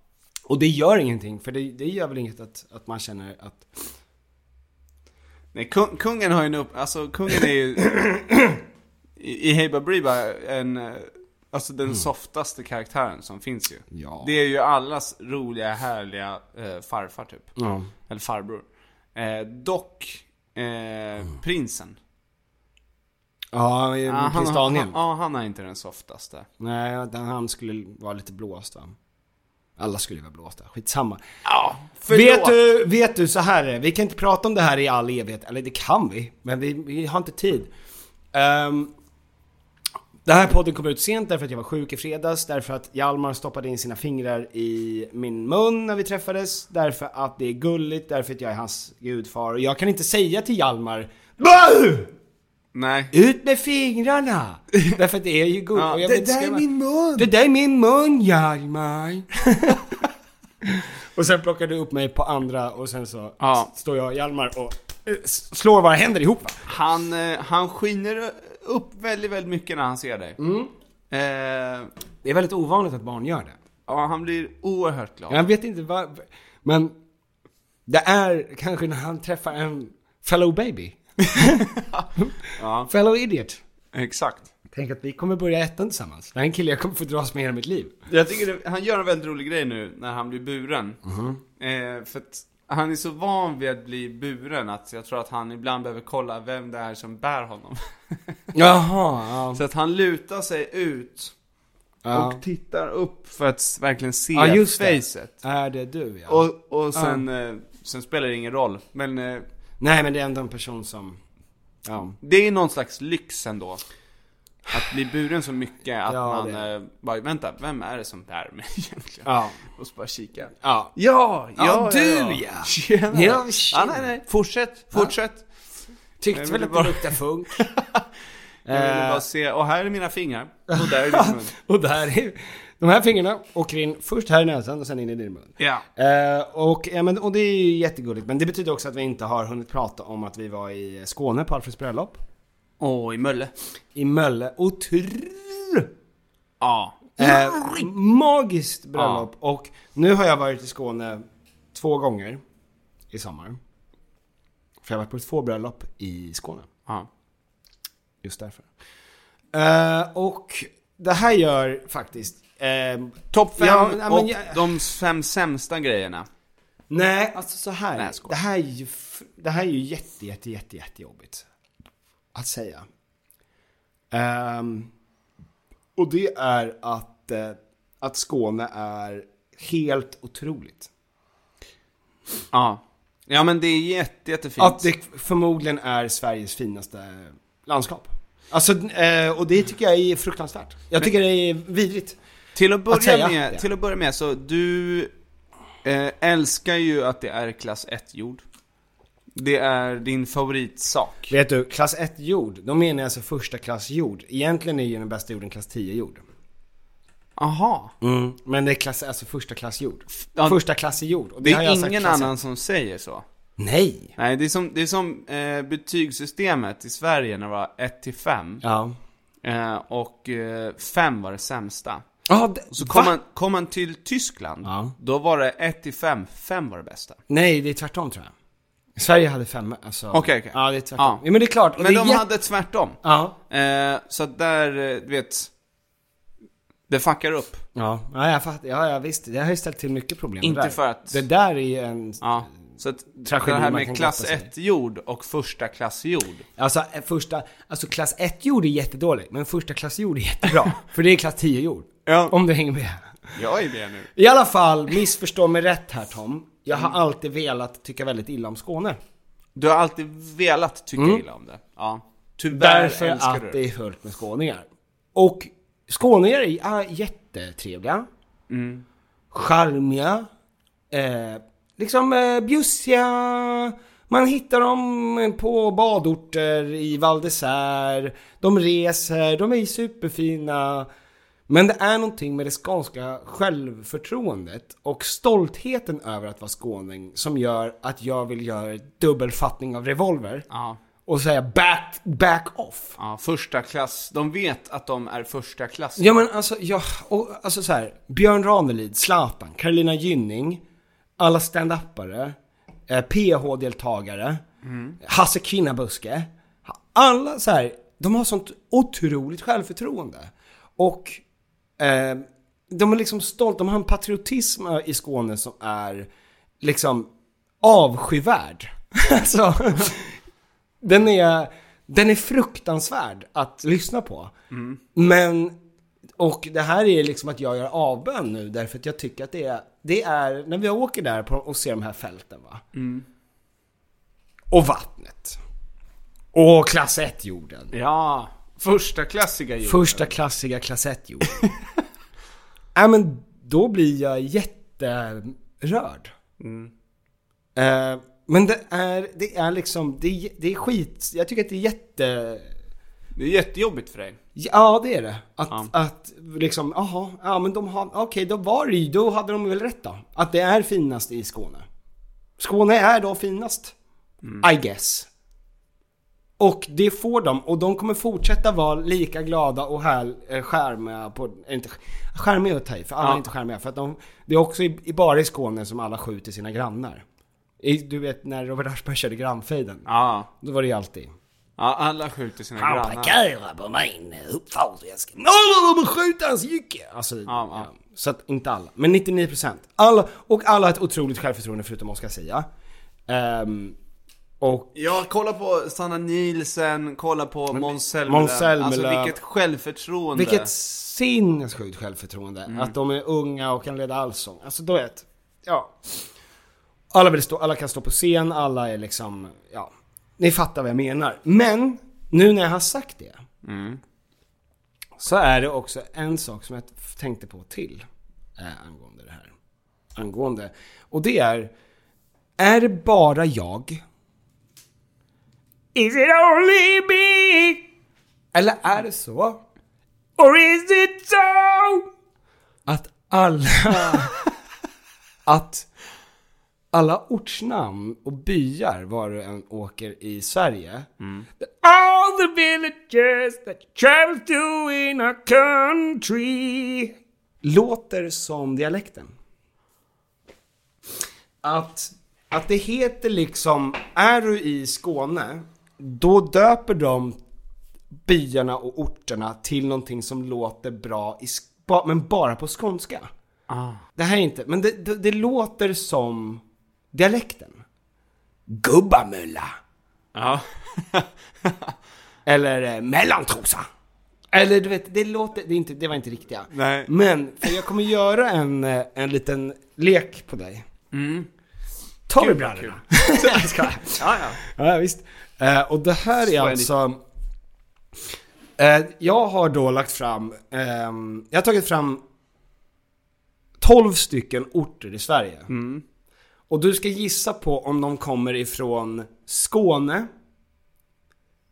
Och det gör ingenting, för det, det gör väl inget att, att man känner att...
Nej, kung, kungen har ju en upp... Alltså kungen är ju... I, i Hey Baberiba en... eh, Alltså den softaste karaktären som finns ju.
Mm. Ja.
Det är ju allas roliga, härliga eh, farfar typ.
Ja.
Eller farbror. Eh, dock,
Mm.
eh, prinsen.
Ja, i
Ah, han, han,
Daniel.
han, ja, han är inte den softaste.
Nej, att han skulle vara lite blåst va? Alla skulle vara blåsta, skitsamma.
Ja,
Vet du, vet du, så här är det. vi kan inte prata om det här i all evighet, eller det kan vi, men vi, vi har inte tid. Um, den här podden kom ut sent därför att jag var sjuk i fredags, därför att Hjalmar stoppade in sina fingrar i min mun när vi träffades, därför att det är gulligt, därför att jag är hans gudfar och jag kan inte säga till Hjalmar "Bah!
Nej.
Ut med fingrarna! Därför att det är ju gulligt.
Ja,
och jag
det
vet inte,
där
ska
är
man-
min mun.
Det där är min mun Hjalmar! och sen plockar du upp mig på andra och sen så
Ja.
s- står jag och Hjalmar och eh, s- slår våra händer ihop va?
Han, eh, han skiner upp väldigt, väldigt mycket när han ser dig.
Mm.
Eh,
Det är väldigt ovanligt att barn gör det.
ja, han blir oerhört glad.
Jag vet inte varför, men det är kanske när han träffar en fellow baby.
Ja.
Fellow idiot.
Exakt.
Tänk att vi kommer börja ettan tillsammans. Det här är en kille jag kommer få dras med hela mitt liv.
Jag tycker det, han gör en väldigt rolig grej nu när han blir buren.
Mm-hmm.
Eh, för att han är så van vid att bli buren att jag tror att han ibland behöver kolla vem det är som bär honom.
Jaha, ja.
så att han lutar sig ut
ja.
och tittar upp för att verkligen se
Ja, just det.
facet.
Är det du ja?
Och, och sen, eh, sen spelar det ingen roll. Men eh,
Nej men det är ändå en person som... Ja.
det är någon slags lyx ändå. Att bli buren så mycket att
Ja,
man
det
eh, bara, vänta, vem är det som bär mig egentligen?
Ja.
Och så bara kika.
Ja.
Ja, ja,
du, ja.
ja! Tjena!
Ja, tjena.
nej, nej, fortsätt, fortsätt!
Tyckte
Nej,
väl
men det
att
var-
det luktade funk.
Jag
Eh.
ville bara se, och här är mina fingrar, och där är din mun.
och där är... De här fingrarna åker in först här i näsan och sen in i din mun.
Ja.
Eh, och, ja, men, och det är ju jättegulligt, men det betyder också att vi inte har hunnit prata om att vi var i Skåne på Alfreds bröllop.
Åh, i Mölle.
I Mölle. Otroligt
Ja.
eh, magiskt bröllop. Och nu har jag varit i Skåne två gånger i sommar. För jag har varit på två bröllop i Skåne.
ja.
Just därför. Eh, och det här gör faktiskt... Uh,
Topp fem,
Ja, nej, men
och
jag-
de fem sämsta grejerna.
nej, alltså så här.
Nej, jag skojar.
det, här är ju, f- det här är ju jätte, jätte, jätte, jättejobbigt. att säga. Ehm, och det är att, eh, att Skåne är helt otroligt.
Ja. Ja men det är jätte, jättefint.
Att det förmodligen är Sveriges finaste landskap. Alltså, eh, och det tycker jag är fruktansvärt. Jag tycker det är vidrigt.
Till att börja
Att säga
med,
det.
till att börja med så du eh, älskar ju att det är klass 1 jord. Det är din favoritsak.
Vet du, klass 1 jord, då menar jag alltså första klass jord. Egentligen är ju den bästa jorden klass 10 jord.
Aha.
Men det är klass, alltså första klass jord.
ja.
Första klass i jord. Och
Det
har jag sagt
är ingen
klass ett.
annan som säger så.
Nej!
Nej, det är som, det är som eh, betygssystemet i Sverige när det var 1 till 5.
Ja.
Eh, och 5 var det sämsta.
Ah, det,
Så kom man, kom man till Tyskland,
Ja.
då var det 1 till 5, 5 var det bästa.
Nej, det är tvärtom tror jag. Sverige hade fem, alltså.
Okej, okej.
Ja, det är tvärtom. Ja. men det är klart. och
Men
det är
de
jätte-
hade tvärtom.
Ja.
Eh, så att där, eh, du vet, det fuckar upp.
Ja, ja jag fattar. Ja, ja, visst. Det har ju ställt till mycket problem.
Inte
det där.
för att-
Det där är ju en...
Ja. Så att
Tragedi
det
man
här
kan
med klass
glatta sig.
1 jord och första klass jord.
Alltså eh, första... Alltså klass 1 jord är jättedålig, men första klass jord är jättebra. för det är klass 10 jord.
Ja.
Om du hänger med.
Jag är med nu.
I alla fall, missförstå mig rätt här Tom. Jag har alltid velat tycka väldigt illa om Skåne.
Du har alltid velat tycka illa om det. Ja. Tyvärr
Mm. Därför
älskar
att
du
det är fullt med skåningar. Och skåningar är ja, jättetrevliga.
Mm.
Charmiga. Eh, liksom eh, bjussiga. Man hittar dem på badorter i Val d'Isère. De reser, de är superfina. Men det är någonting med det skånska självförtroendet och stoltheten över att vara skåning som gör att jag vill göra dubbelfattning av revolver
Ja.
och säga back, back off.
Ja, första klass. De vet att de är första klass.
Ja men alltså, ja, och, alltså så här, Björn Ranelid, Zlatan, Carolina Gynning, alla standupare, eh, PH-deltagare, Hasse Kvinnabuske. Alla så här, de har sånt otroligt självförtroende. Och eh, de är liksom stolta, de har en patriotism i Skåne som är liksom avskyvärd. alltså, den är, den är fruktansvärd att lyssna på. Men, och det här är liksom att jag gör avbön nu därför att jag tycker att det är, det är när vi åker där på, och ser de här fälten va. Och vattnet. Och klass 1 jorden.
Ja, första klassiga jord.
Första klassiga klass 1 jorden. Nej men då blir jag jätterörd. Eh, men det är, det är liksom, det är, det är skit, jag tycker att det är jätte...
Det är jättejobbigt för dig.
Ja, det är det. Att, att liksom, jaha, ja men de har, okej då var det ju, då hade de väl rätt då. Att det är finast i Skåne. Skåne är då finast. I guess. Och det får de, och de kommer fortsätta vara lika glada och här, eh, skärmiga på, eh, inte, skärmiga är att ta i, för alla är inte skärmiga. För att de, det är också i, i, bara i Skåne som alla skjuter sina grannar. I, du vet när Robert Aschberg körde grannfejden.
Ja.
Då var det ju alltid.
ja, alla skjuter sina
Han
grannar.
parkerar på min uppfart och jag ska... Målar de skjuta hans jycke! Alltså,
ja.
ja. Så att inte alla, men 99%. Alla, och alla har ett otroligt självförtroende förutom Oscar Sia. Ehm, och
Jag kollar på Sanna Nielsen, kollar på Måns Zelmerlöw.
Måns Zelmerlöw.
Alltså vilket självförtroende.
vilket sinnessjukt självförtroende.
Mm.
Att de är unga och kan leda allsång. Alltså du vet, ja. Alla, vill stå, alla kan stå på scen, alla är liksom, ja. Ni fattar vad jag menar. Men, nu när jag har sagt det. Så är det också en sak som jag tänkte på till. Eh, angående det här. Angående. Och det är. Är det bara jag? Is it only me? Eller är det så? Or is it so? Att alla... att alla ortsnamn och byar var du än åker i Sverige. All the villages that you travel to in our country. Låter som dialekten. Att, att det heter liksom, är du i Skåne, då döper de byarna och orterna till någonting som låter bra, i, sk- ba, men bara på skånska. Det här är inte, men det, det, det låter som dialekten. Gubbamölla.
Ja.
Eller eh, mellantrosa. Eller du vet, det låter, det, är inte, det var inte riktiga.
Nej.
Men, för jag kommer göra en, eh, en liten lek på dig. Ta du brallorna? Jag skojar.
Ja, ja.
Ja, visst. Eh, och det här är
är det.
alltså... Eh, jag har då lagt fram... ehm, jag har tagit fram 12 stycken orter i Sverige.
Mm.
Och du ska gissa på om de kommer ifrån Skåne.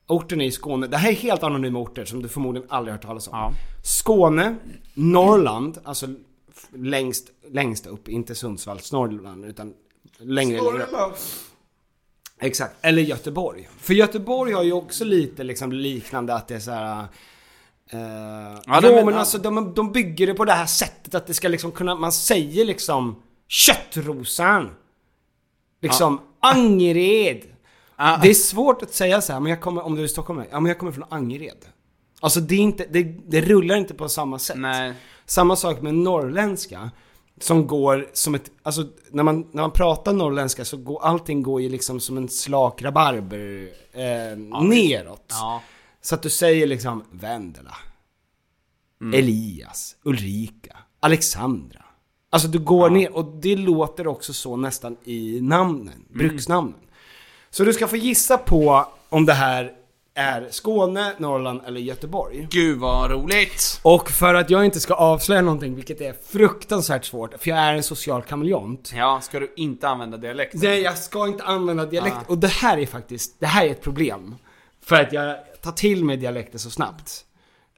Orten är i Skåne. Det här är helt anonyma orter som du förmodligen aldrig har hört talas om.
Ja.
Skåne, Norrland, alltså f- längst, längst upp, inte Sundsvall, Norrland, utan längre längre upp. Exakt, eller Göteborg. För Göteborg har ju också lite liksom liknande att det är så här. eh,
Ja, de-
jo men
ja.
alltså de, de bygger det på det här sättet att det ska liksom kunna, man säger liksom Köttrosan! Liksom Angered!
Ah.
Det är svårt att säga så här, men jag kommer, om du är stockholmare, ja men jag kommer från Angered. Alltså det är inte, det, det rullar inte på samma sätt.
Nej.
Samma sak med norrländska. Som går som ett, alltså när man, när man pratar norrländska så går allting går ju liksom som en slak rabarber eh, neråt.
Ja.
Så att du säger liksom Vendela, Elias, Ulrika, Alexandra. Alltså du går ner och det låter också så nästan i namnen, bruksnamnen. Så du ska få gissa på om det här är Skåne, Norrland eller Göteborg.
Gud vad roligt!
Och för att jag inte ska avslöja någonting, vilket är fruktansvärt svårt, för jag är en social kameleont.
Ja, ska du inte använda dialekt?
Nej, jag ska inte använda dialekt. Ah. Och det här är faktiskt, det här är ett problem. För att jag tar till mig dialekter så snabbt.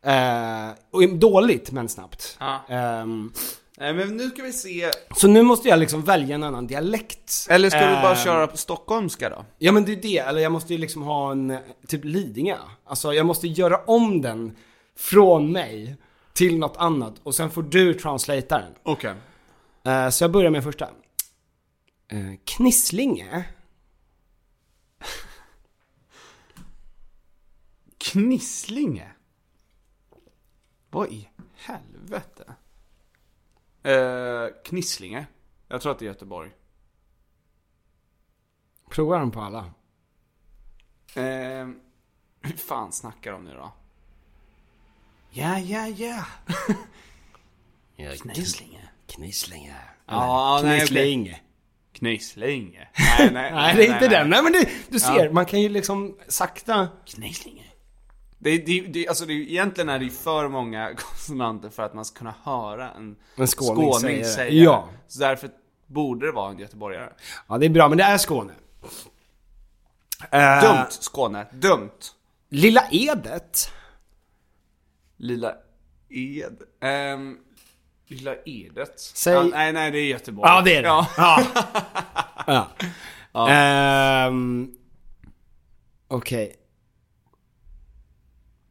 Eh, och dåligt, men snabbt.
Ja.
Ehm,
Nej, Eh, men nu ska vi se.
så nu måste jag liksom välja en annan dialekt.
Eller ska du bara
Ehm,
köra på stockholmska då?
Ja men det är det, eller jag måste ju liksom ha en, eh, typ Lidingö. Alltså jag måste göra om den från mig till något annat och sen får du translatea den.
Okej.
Eh, Så jag börjar med första. Eh, Knislinge?
Knislinge? Vad i helvete? Eh, Knislinge? Jag tror att det är Göteborg.
Provar den på alla.
Eh, hur fan snackar de nu då? Ja, ja, ja. Knislinge.
Knislinge.
Ja, nej, jag blev-
Knislinge.
Knislinge. Nej, nej,
Nej, det är inte den. Nej men du, du ser, man kan ju liksom sakta...
Knislinge. Det, det, det, alltså det, egentligen är det ju för många konsonanter för att man ska kunna höra en,
En skåning säga det.
säga det.
Ja.
Så därför borde det vara en göteborgare.
Ja det är bra, men det är Skåne. Eh,
Dumt Skåne, dumt!
Lilla Edet?
Lilla Ed... ehm, Lilla Edet?
Säg-
Ja, nej, nej, det är Göteborg.
Ja det är det.
Ja.
Ja. ja. Ehm, Okej.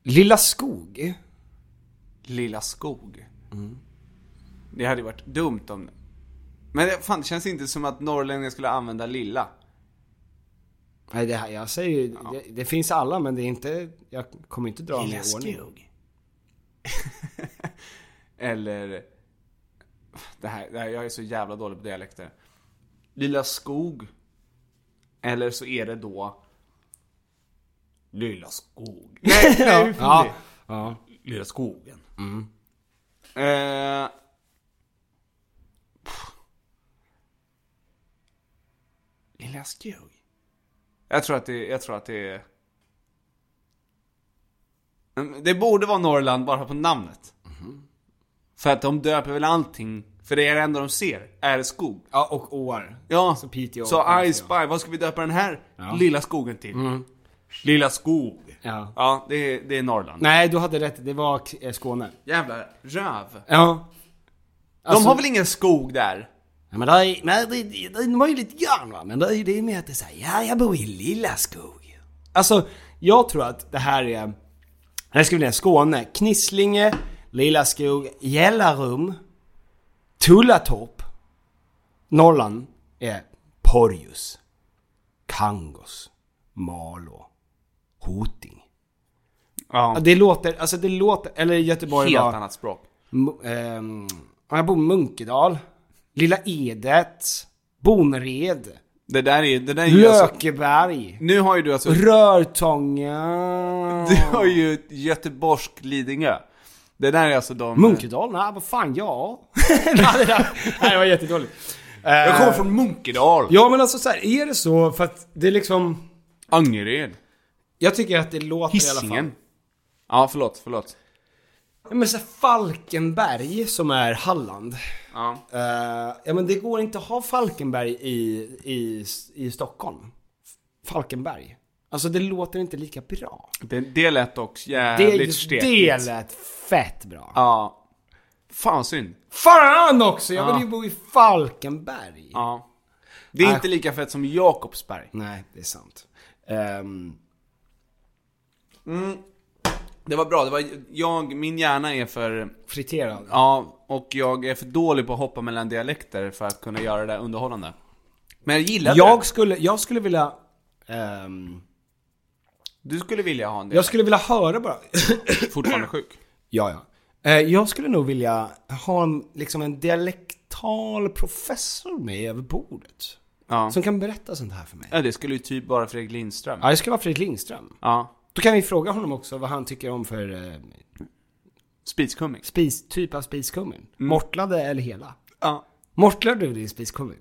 Lilla Skog?
Lilla Skog. Det hade ju varit dumt om... Men det, fan, det känns inte som att norrlänningar skulle använda lilla.
Nej, det här, jag säger ju, det, det finns alla men det är inte, jag kommer inte dra
Lilla
med ordning.
skog. Eller... Det här, det här, jag är så jävla dålig på dialekter. Lilla skog. Eller så är det då... Lilla skog. Nej, nej, hur fan
Ja,
det?
ja. Mm.
Lilla skogen. Eh, pff. Lilla skog. Jag tror att det, jag tror att det är... Mm, Det borde vara Norrland bara på namnet.
Mhm.
För att de döper väl allting, för det är det enda de ser, är skog.
ja och år.
Ja,
Så Piteå och
så I
Piteå.
Spy, vad ska vi döpa den här lilla skogen till? Lilla skog.
Mm. Ja.
Ja, det är, det är Norrland.
Nej, du hade rätt, det var K- eh, Skåne.
Jävla röv.
Ja. Alltså-
de har väl ingen skog där?
Ja, men det är, nej, det, det, det är möjligt grann va, men det är ju det med att det är så här, ja jag bor i Lilla Skog. Alltså, jag tror att det här är, här ska vi ner, Skåne, Knislinge, Lilla Skog, Gällarum, Tullatorp, Norrland är Porjus, Kangos, Malå, Hoting. Ja,
Ja,
Det låter, alltså det låter, eller Göteborg
helt
var...
annat språk.
Mo- ehm, ja, jag bor i Munkedal, Lilla Edet, Bonred,
Det där är, det där är ju alltså,
Lökeberg.
Nu har ju du alltså...
Rörtånga.
Du har ju Göteborgsk Lidingö. Det där är alltså de...
Munkedal? Nej, vad fan, ja. nej, det där, nej, det var jättedåligt.
Jag kommer från Munkedal.
Ja, men alltså så här, är det så? För att det är liksom...
Angered.
Jag tycker att det låter i alla fall.
Hisingen. Ja, förlåt, förlåt.
Ja, Men så här, Falkenberg som är Halland.
Ja.
Eh, ja men det går inte att ha Falkenberg i, i, i Stockholm. Falkenberg. Alltså det låter inte lika bra.
Det, det lät dock
Det,
jävligt
just
stekigt.
det lät fett bra.
Ja. Fan synd.
Fan också! Jag vill ju bo i Falkenberg.
Ja. Det
Äh.
är inte lika fett som Jakobsberg.
Nej, det är sant. Ehm,
Det var bra, det var, jag, min hjärna är för...
friterad.
Ja, och jag är för dålig på att hoppa mellan dialekter för att kunna göra det där underhållande. Men jag gillade
Jag
det.
skulle, jag skulle vilja... ehm,
Du skulle vilja ha en del.
jag skulle vilja höra bara...
Fortfarande sjuk.
Ja, ja. Eh, Jag skulle nog vilja ha en, liksom en dialektal professor med över bordet.
Ja.
Som kan berätta sånt här för mig.
ja, det skulle ju typ bara Fredrik Lindström.
Ja, det skulle vara Fredrik Lindström.
Ja.
Då kan vi fråga honom också vad han tycker om för eh,
Spiskummin.
spis, typ av spiskummin.
Mm.
Mortlade eller hela?
Ja.
Mortlar du din spiskummin?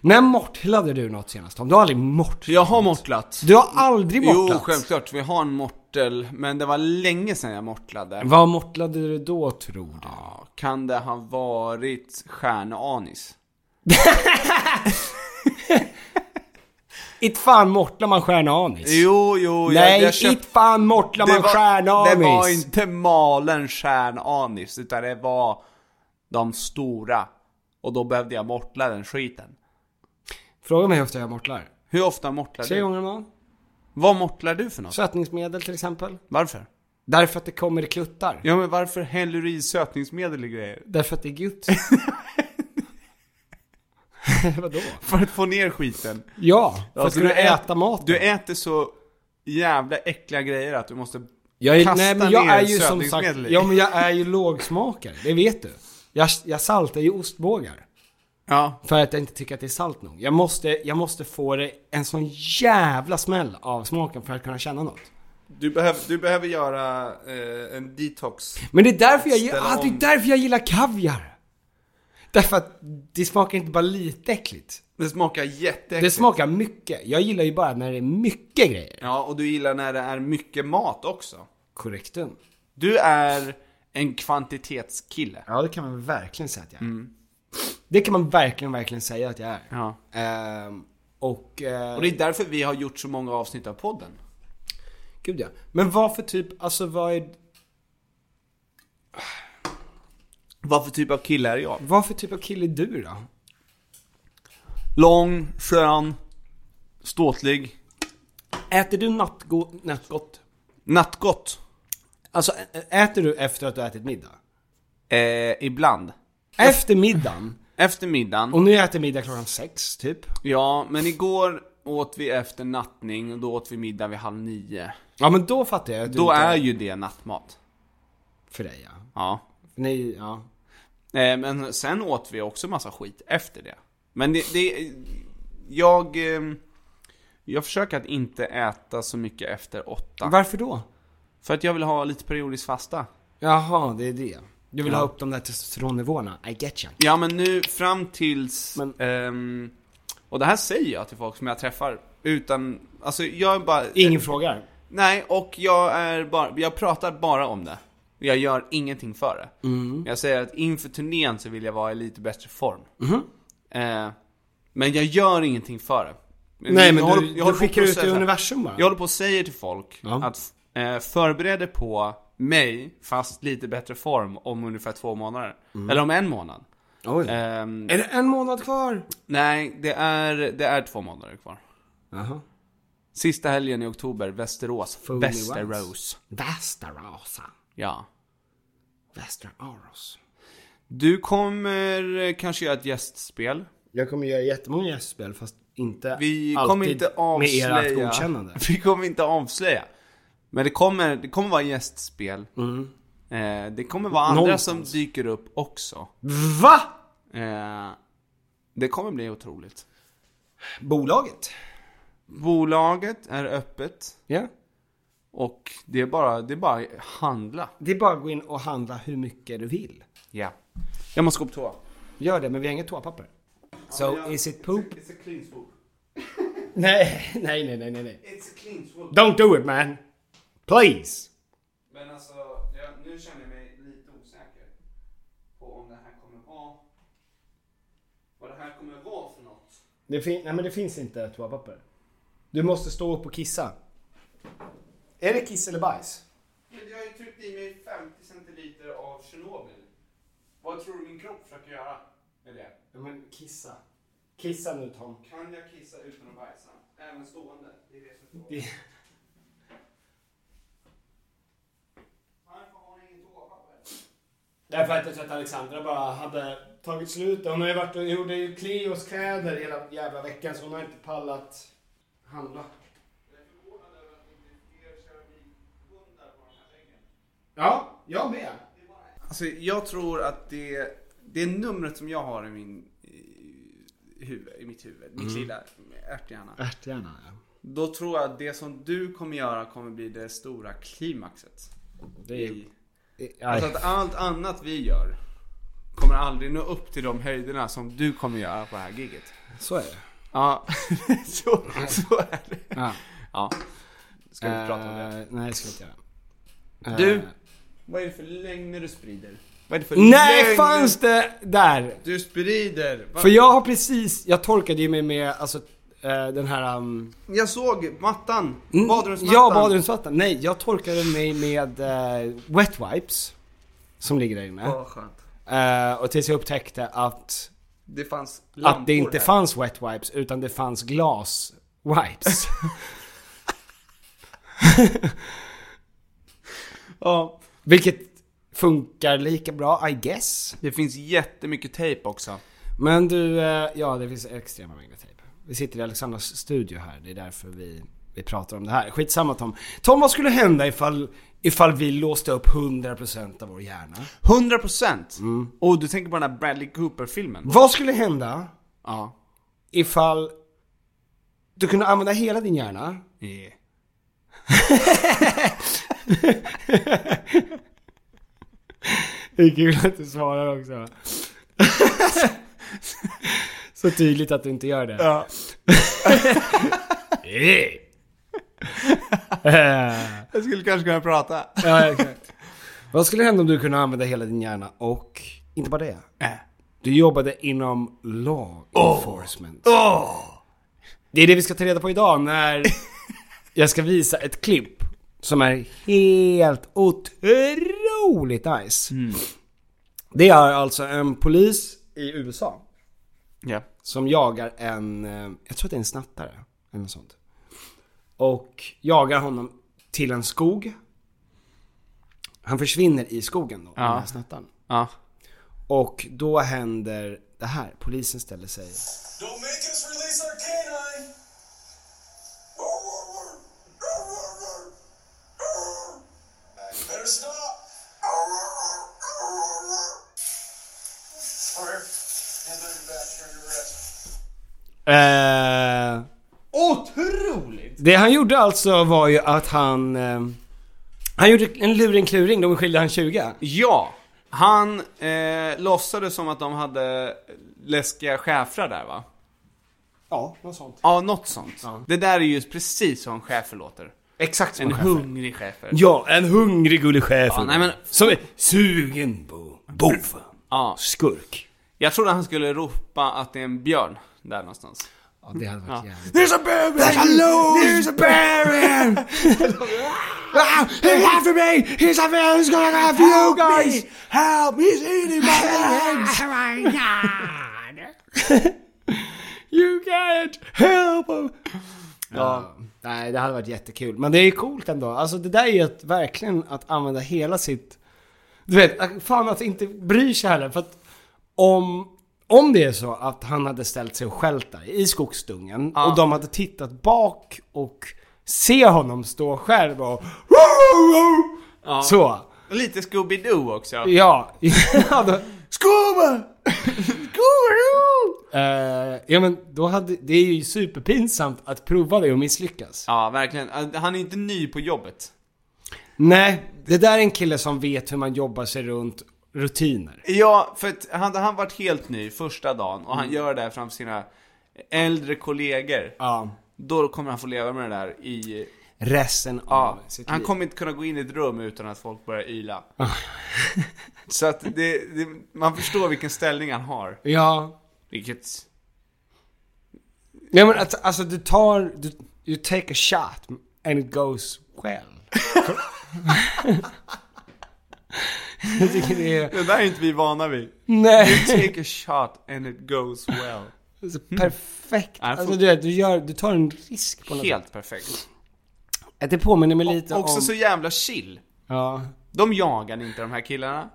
När mortlade du något senast Tom? Du har aldrig mortlat.
Jag har mortlat.
Du har aldrig mortlat.
Jo, självklart. Vi har en mortel, men det var länge sedan jag mortlade.
Vad mortlade du då tror du?
Ja, Kan det ha varit stjärnanis?
It fan mortlar man stjärnanis.
Jo, jo,
Nej,
jag, jag köpte...
it fan mortlar man stjärnanis.
det var inte malen stjärnanis, utan det var de stora. Och då behövde jag mortla den skiten.
Fråga mig hur ofta jag mortlar.
Hur ofta mortlar
Tre
du?
gånger om dagen.
Vad mortlar du för något?
Sötningsmedel till exempel.
Varför?
Därför att det kommer i kluttar.
Ja men varför häller du i sötningsmedel i grejer?
Därför att det är gött. Vadå?
För att få ner skiten.
Ja, för att
Alltså,
kunna
du ät-
äta maten.
Du äter så jävla äckliga grejer att du måste
jag är,
kasta
nej, men jag
ner
är ju som sagt,
sötningsmedel i.
ja, men jag är ju lågsmakare, det vet du. Jag, jag saltar ju ostbågar.
Ja.
För att jag inte tycker att det är salt nog. Jag måste, jag måste få det en sån jävla smäll av smaken för att kunna känna något.
Du, behöver, du behöver göra eh, en detox.
Men det är därför jag, gi-
Ställa
ah, det
om.
är därför jag gillar kaviar. Därför att det smakar inte bara lite äckligt.
Det smakar jätteäckligt.
Det smakar mycket. Jag gillar ju bara när det är mycket grejer.
Ja, och du gillar när det är mycket mat också.
Korrektum.
Du är en kvantitetskille.
Ja, det kan man verkligen säga att jag är. Det kan man verkligen, verkligen säga att jag är.
Mm. Ja.
Ehm, och... eh,
Och det är därför vi har gjort så många avsnitt av podden.
Gud ja. Men vad för typ, alltså vad är...
Vad för typ av kille är jag?
Vad för typ av kille är du då?
Lång, skön, ståtlig,
Äter du nattgo- nattgott?
nattgott.
Alltså, ä- äter du efter att du ätit middag?
Eh, ibland.
Efter middagen?
Efter middagen.
Och nu äter middag klockan sex, typ.
Ja, men igår åt vi efter nattning och då åt vi middag vid halv nio.
Ja, men då fattar jag att du
Då
inte
är ju det nattmat.
För dig, ja.
Ja.
Nej, ja.
Eh, men sen åt vi också massa skit efter det. Men det, det jag, eh, jag försöker att inte äta så mycket efter åtta.
Varför då?
För att jag vill ha lite periodisk fasta.
Jaha, det är det. Du vill
Ja.
ha upp de där testosteronnivåerna. I get you.
Ja men nu fram tills,
Men-
ehm, och det här säger jag till folk som jag träffar utan, alltså jag är bara...
Ingen frågar.
Nej, och jag är bara, jag pratar bara om det. Jag gör ingenting för det.
Mm.
Jag säger att inför turnén så vill jag vara i lite bättre form.
Mm-hmm.
Eh, men jag gör ingenting för det.
Nej, men
jag
du,
håller-
du
jag håller på att
skickar ut det i
processa.
universum bara.
Jag håller på och säger till folk
Ja.
att eh, förbered er på mig, fast lite bättre form, om ungefär två månader.
Mm.
Eller om en månad.
Oj.
Ehm,
Är det en månad kvar?
nej, det är, det är två månader kvar.
Jaha.
Sista helgen i oktober, Västerås.
Foley
Västerås.
Västeråsa.
Ja.
Västra Aros.
Du kommer eh, kanske göra ett gästspel.
Jag kommer göra jättemånga gästspel fast inte
Vi
alltid
kommer inte avslöja.
med ert godkännande.
Vi kommer inte avslöja. Men det kommer, det kommer vara gästspel.
Mm.
Eh, det kommer vara andra
Någonstans.
som dyker upp också.
Va?
Eh, det kommer bli otroligt.
Bolaget?
Bolaget är öppet
Ja.
och det är bara, det är bara handla.
Det är bara att gå in och handla hur mycket du vill.
Ja. Jag måste gå på toa.
Gör det, men vi har inget toapapper. So, is it poop?
It's a clean swoop.
Nej, nej, nej, nej, nej, nej.
It's a clean swoop.
Don't do it man! Please!
Men alltså, nu känner jag mig lite osäker på om det här kommer vara... Vad det här kommer vara för något.
Det fin- nej men det finns inte toapapper. Du måste stå upp och kissa. Är det kiss eller bajs?
Men jag har ju tryckt i mig 50 centiliter av Tjernobyl. Vad tror du min kropp försöker göra med det?
Ja men kissa. Kissa nu Tom.
Kan jag kissa utan att bajsa? Även stående? Det är det som är frågan.
Det-
Varför har ni ingen toapapper?
Därför att jag tror att Alexandra bara hade tagit slut. Hon har ju varit och gjorde ju Cleos kläder hela jävla veckan så hon har inte pallat handla.
Jag är förvånad över att det inte är fler keramikhundar på den här väggen.
Ja, jag med.
Alltså jag tror att det, det numret som jag har i min i, huvud, i mitt huvud,
Mm.
mitt lilla ärthjärna.
Ärthjärna ja.
Då tror jag att det som du kommer göra kommer bli det stora klimaxet.
Det är...
I, alltså att allt annat vi gör kommer aldrig nå upp till de höjderna som du kommer göra på det här giget.
Så är det.
Ja, så, så är det.
Ja.
Ja. Ska vi prata om det?
Eh, Nej, det ska vi inte göra. Eh.
Du, vad är det för lögner du sprider? Vad är det för
Nej,
lögner
fanns det där?
Du sprider! Va?
För jag har precis, jag torkade ju mig med alltså eh, den här... Um,
Jag såg mattan!
mm,
Badrumsmattan!
Ja, badrumsvatten. Nej, jag torkade mig med eh, wet wipes. Som ligger där inne.
Vad skönt.
Eh, och tills jag upptäckte att,
Det fanns lampor
att det inte
här.
fanns wet wipes utan det fanns glas wipes.
Ja.
Vilket funkar lika bra I guess.
Det finns jättemycket tejp också.
Men du, eh, ja det finns extrema mängder tejp. Vi sitter i Alexandras studio här, det är därför vi, vi pratar om det här. Skitsamma Tom. Tom, vad skulle hända ifall, ifall vi låste upp 100% av vår hjärna?
100%! Och du tänker på den här Bradley Cooper-filmen?
Vad skulle hända
Ja.
ifall du kunde använda hela din hjärna?
Yeah.
Det är kul att du svarar också. Så tydligt att du inte gör det.
Ja.
Eh.
Jag skulle kanske kunna prata.
Ja, exakt. Vad skulle hända om du kunde använda hela din hjärna och, inte bara det, du jobbade inom law enforcement. Det är det vi ska ta reda på idag när jag ska visa ett klipp som är helt otroligt nice. Det är alltså en polis i USA
Ja.
som jagar en, eh, jag tror att det är en snattare, eller något sånt. Och jagar honom till en skog. Han försvinner i skogen då, den här snattaren.
Ja.
Och då händer det här, polisen ställer sig...
Don't make us release our canine! Better stop! Sorry. Hand over back, turn to rest.
Eh,
Otroligt!
det han gjorde alltså var ju att han... Eh, han gjorde en luring kluring, de skilde han 20.
Ja. Han eh, låtsades som att de hade läskiga schäfrar där va?
Ja, något sånt.
Ja, något sånt. Det där är ju precis som chefer låter.
Exakt som
En
han själv.
hungrig chefer.
Ja, en hungrig gullig chef.
Ja, nej, men-
Som är sugen på bov.
Ja.
Skurk.
Jag trodde han skulle ropa att det är en björn där någonstans.
Ja, det hade varit jävligt...
There's a bear! There's a load! There's a bear in!
Ah, he's after me! He's after me! He's gonna go after you guys!
Help! He's eating my
Eggs. you can't help him! Ja, nej det hade varit jättekul. Men det är coolt ändå. Alltså det där är ju att verkligen att använda hela sitt... Du vet, fan att inte bry sig heller. För att om, om det är så att han hade ställt sig och skällt där i skogsdungen och de hade tittat bak och se honom stå själv och... Så. Alltså,
Lite Scooby-Doo också.
Ja. ja då,
Scuba! Scooby-Doo!
Eh, ja men då hade, det är ju superpinsamt att prova det och misslyckas.
Ja, verkligen. Han är inte ny på jobbet.
Nej, det där är en kille som vet hur man jobbar sig runt rutiner.
Ja, för att hade han varit helt ny första dagen och han gör det här framför sina äldre kollegor.
Ja.
Då kommer han få leva med det där i...
Resten
Ja,
av Mm, sitt
han
liv.
kommer inte kunna gå in i ett rum utan att folk börjar yla. Så att det, det, man förstår vilken ställning han har.
Ja.
Vilket...
Nej men att, alltså du tar, du, you take a shot and it goes well. Jag tycker det är,
Det där är inte vi vana vid.
nej.
Take a shot and it goes well.
Alltså, perfekt.
Ja, jag får-
Alltså du vet, du, gör, du tar en risk på något
Helt perfekt.
sätt. Det påminner mig lite
Också
om...
så jävla chill.
Ja.
De jagar inte de här killarna.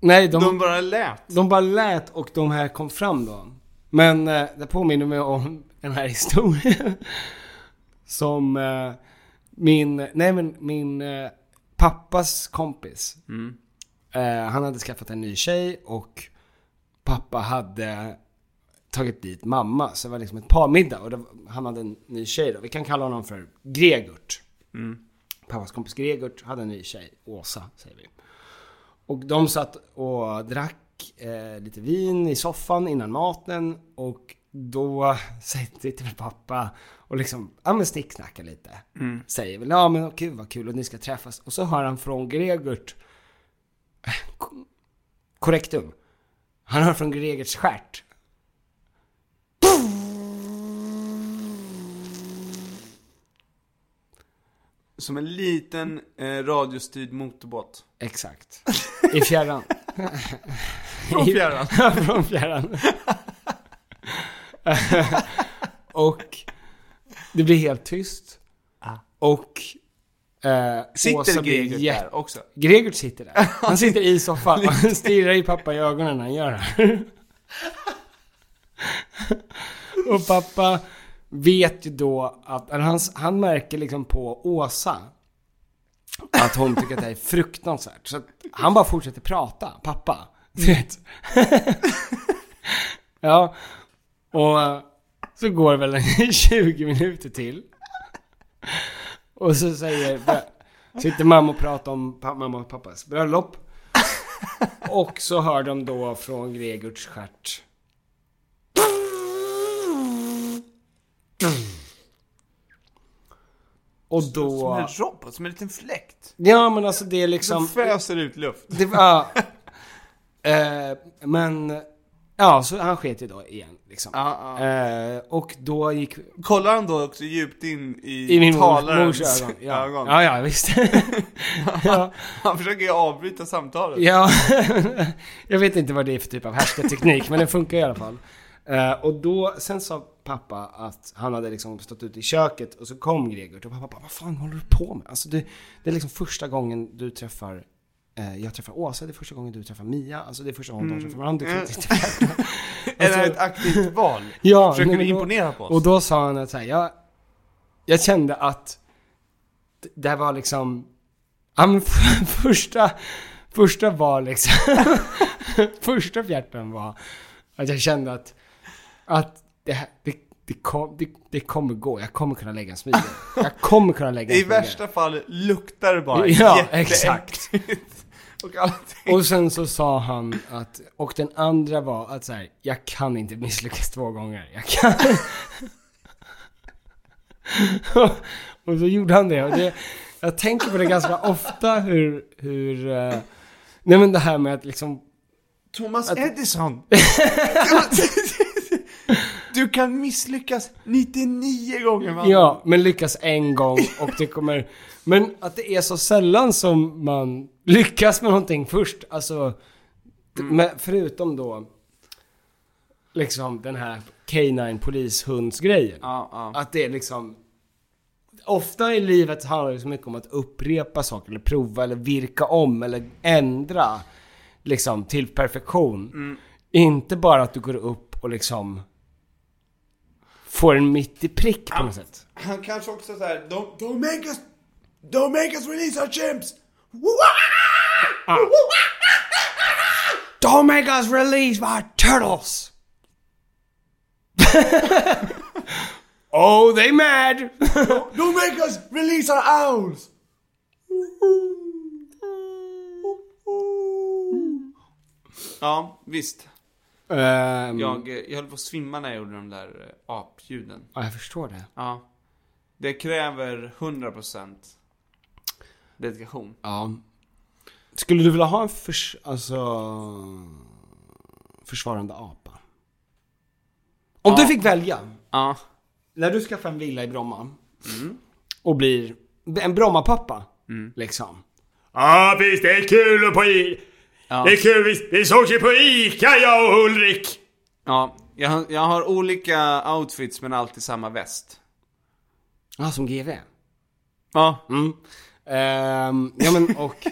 Nej, de,
De
de...
bara lät.
bara lät och de här kom fram då. Men eh, det påminner mig om den här historien. Som eh, min, nej men min eh, pappas kompis. Eh, han hade skaffat en ny tjej och pappa hade tagit dit mamma. Så det var liksom ett parmiddag och det, var- han hade en ny tjej då. Vi kan kalla honom för Gregert. Pappas kompis Gregert hade en ny tjej, Åsa säger vi. Och de satt och drack eh, lite vin i soffan innan maten och då sitter väl pappa och liksom, ja men snicksnackar lite.
Mm.
Säger väl, ja men gud vad kul och ni ska träffas. Och så hör han från Gregert, eh, Ko- korrektum, han hör från Gregerts stjärt.
Som en liten eh, radiostyrd motorbåt.
Exakt. I fjärran.
Från fjärran.
Från fjärran. och det blir helt tyst. Och eh,
Sitter
Åsa blir
Gregert
jätte-
där också?
Gregert sitter där. Han sitter i soffan och han stirrar i pappa i ögonen när han gör det här. Och pappa vet ju då att, eller han, han märker liksom på Åsa att hon tycker att det här är fruktansvärt. Så att han bara fortsätter prata, pappa. Du vet. Ja, och eh, så går det väl en 20 minuter till. Och så säger, sitter mamma och pratar om pa- mamma och pappas bröllop. Och så hör de då från Gregerts stjärt. Och
Som
då...
en robot, som en liten fläkt.
Ja men alltså det är
Som
liksom...
föser ut luft.
Det, ja. Eh, men... Ja, så han sket ju då igen liksom.
Ja, ja.
Eh, och då gick
Kollar han då också djupt in i,
I min mor-
talarens
mors ögon. Ja.
ögon?
ja, ja visst. ja,
Han försöker ju avbryta samtalet.
ja. jag vet inte vad det är för typ av härskarteknik, men den funkar i alla fall. Eh, och då, sen sa pappa att han hade liksom stått ute i köket och så kom Gregor och pappa bara, vad fan håller du på med? Alltså det, det är liksom första gången du träffar eh, jag träffar Åsa, det är första gången du träffar Mia, alltså det är första
Mm.
gången de träffar varandra. Du kan inte träffa
Är det här
Alltså-
ett aktivt val?
Ja,
Försöker
nej,
du
men då-
imponera på oss?
Och då sa han att så här, jag, jag kände att d- det här var liksom, ja men f- första, första var liksom, första fjärten var att jag kände att, att det, här- det, det, kom, det, det kommer gå, jag kommer kunna lägga en smidig. Jag kommer kunna lägga en
I
smidig.
värsta fall luktar det bara
Ja,
jätteäckligt.
exakt.
Och allting.
Och sen så sa han att, och den andra var att så här, jag kan inte misslyckas två gånger. Jag kan... och så gjorde han det. Och det jag tänker på det ganska ofta hur, hur, eh, nej men det här med att liksom,
Thomas Edison! du kan misslyckas 99 gånger man.
ja, men lyckas en gång och det kommer, men att det är så sällan som man lyckas med någonting först. Alltså,
Mm.
med, förutom då, liksom den här K9 polishundsgrejen.
Ja, ja.
Att det är liksom Ofta i livet handlar det så mycket om att upprepa saker eller prova eller virka om eller ändra liksom till perfektion.
Mm.
Inte bara att du går upp och liksom får en mitt i prick på något sätt.
Han kanske också såhär, don't, don't make us... Don't make us release our chimps! Wah!
Ah. Don't make us release our turtles! Oh, they mad!
Don't make us release our owls!
Ja, visst.
Ehm,
Jag, eh, jag höll på att svimma när jag gjorde de där eh, apljuden.
Ja, jag förstår det.
Ja. Det kräver 100% dedikation.
Ja. Skulle du vilja ha en förs... alltså... försvarande apa? Om du fick välja,
Ja.
när du skaffar en villa i Bromma Mm. och blir en Brommapappa, liksom. Ja, visst, det är kul på i... Det är kul, vi, vi såg ju på ICA jag och Ulrik!
Ja, jag, har- jag har olika outfits men alltid samma väst.
Ja, Ah, som GV. Mm.
Ja.
Ehm, ja men och...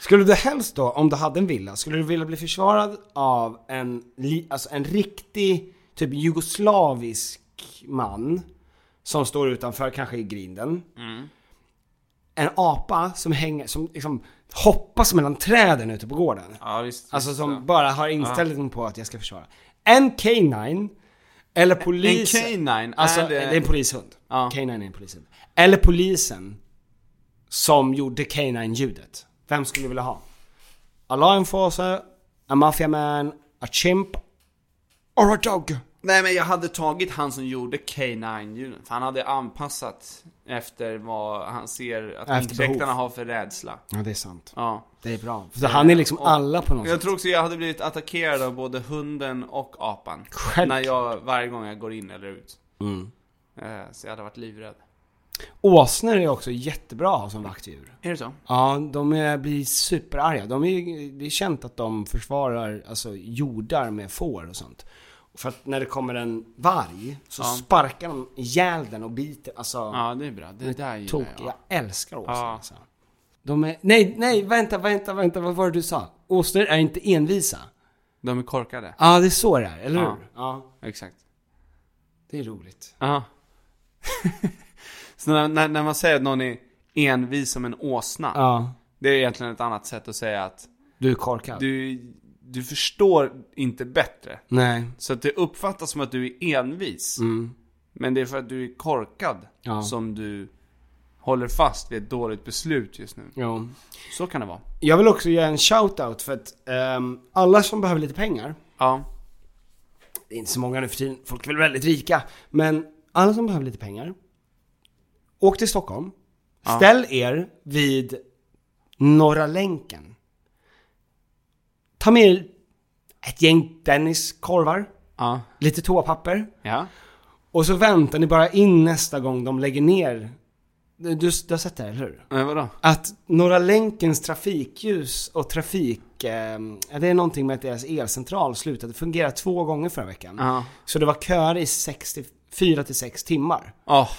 skulle du helst då, om du hade en villa, skulle du vilja bli försvarad av en, li- alltså en riktig, typ jugoslavisk man? Som står utanför, kanske i grinden. En apa som hänger, som liksom hoppas mellan träden ute på gården.
Ja, visst.
Alltså
visst,
som
ja.
bara har inställningen på att jag ska försvara. En K9, eller polisen.
K9?
Alltså,
Är det-
det... är en polishund.
Ja.
K9 är en polishund. Eller polisen som gjorde K9-ljudet. Vem skulle du vilja ha? A law enforcer, a mafia man, a chimp, or a dog?
Nej men jag hade tagit han som gjorde K9-ljuden, för han hade anpassat efter vad han ser att
Efter
inkräktarna
behov.
har för rädsla.
Ja, det är sant.
Ja.
Det är bra. För han är liksom
Och
alla på något
Jag
sätt.
tror också jag hade blivit attackerad av både hunden och apan.
Självklart.
När jag, varje gång jag går in eller ut. Eh, Så jag hade varit livrädd.
Åsnor är också jättebra att ha som vaktdjur.
Är det så?
Ja, de är, blir superarga. De är, det är känt att de försvarar alltså, jordar med får och sånt. För att när det kommer en varg så
Ja.
sparkar de ihjäl den och biter. Alltså,
Ja, det är bra. Det där gillar
tok.
jag.
Jag älskar åsnor
Ja.
alltså. De är... Nej, nej, vänta, vänta, vänta. Vad var det du sa? Åsnor är inte envisa.
De är korkade.
Ja, det är så det är, eller
Ja.
hur? Ja.
Exakt.
Det är roligt.
Ja. så när, när, när man säger att någon är envis som en åsna.
Ja.
Det är egentligen ett annat sätt att säga att
Du är korkad.
du, du förstår inte bättre.
Nej.
Så att det uppfattas som att du är envis. Men det är för att du är korkad
Ja.
som du håller fast vid ett dåligt beslut just nu.
Jo.
Så kan det vara.
Jag vill också göra en shout-out för att ehm, alla som behöver lite pengar
Ja.
det är inte så många nu för tiden, folk är väl väldigt rika. Men alla som behöver lite pengar, åk till Stockholm, ställ er vid Norra länken. Ta med er ett gäng Dennis-korvar,
Ja.
lite toapapper
Ja.
och så väntar ni bara in nästa gång de lägger ner. Du, du du har sett det, eller hur?
Men vadå?
Att Norra länkens trafikljus och trafik, eh, det är någonting med att deras elcentral slutade fungera två gånger förra veckan.
Ja.
Så det var köer i 64 till 6 timmar.
Åh,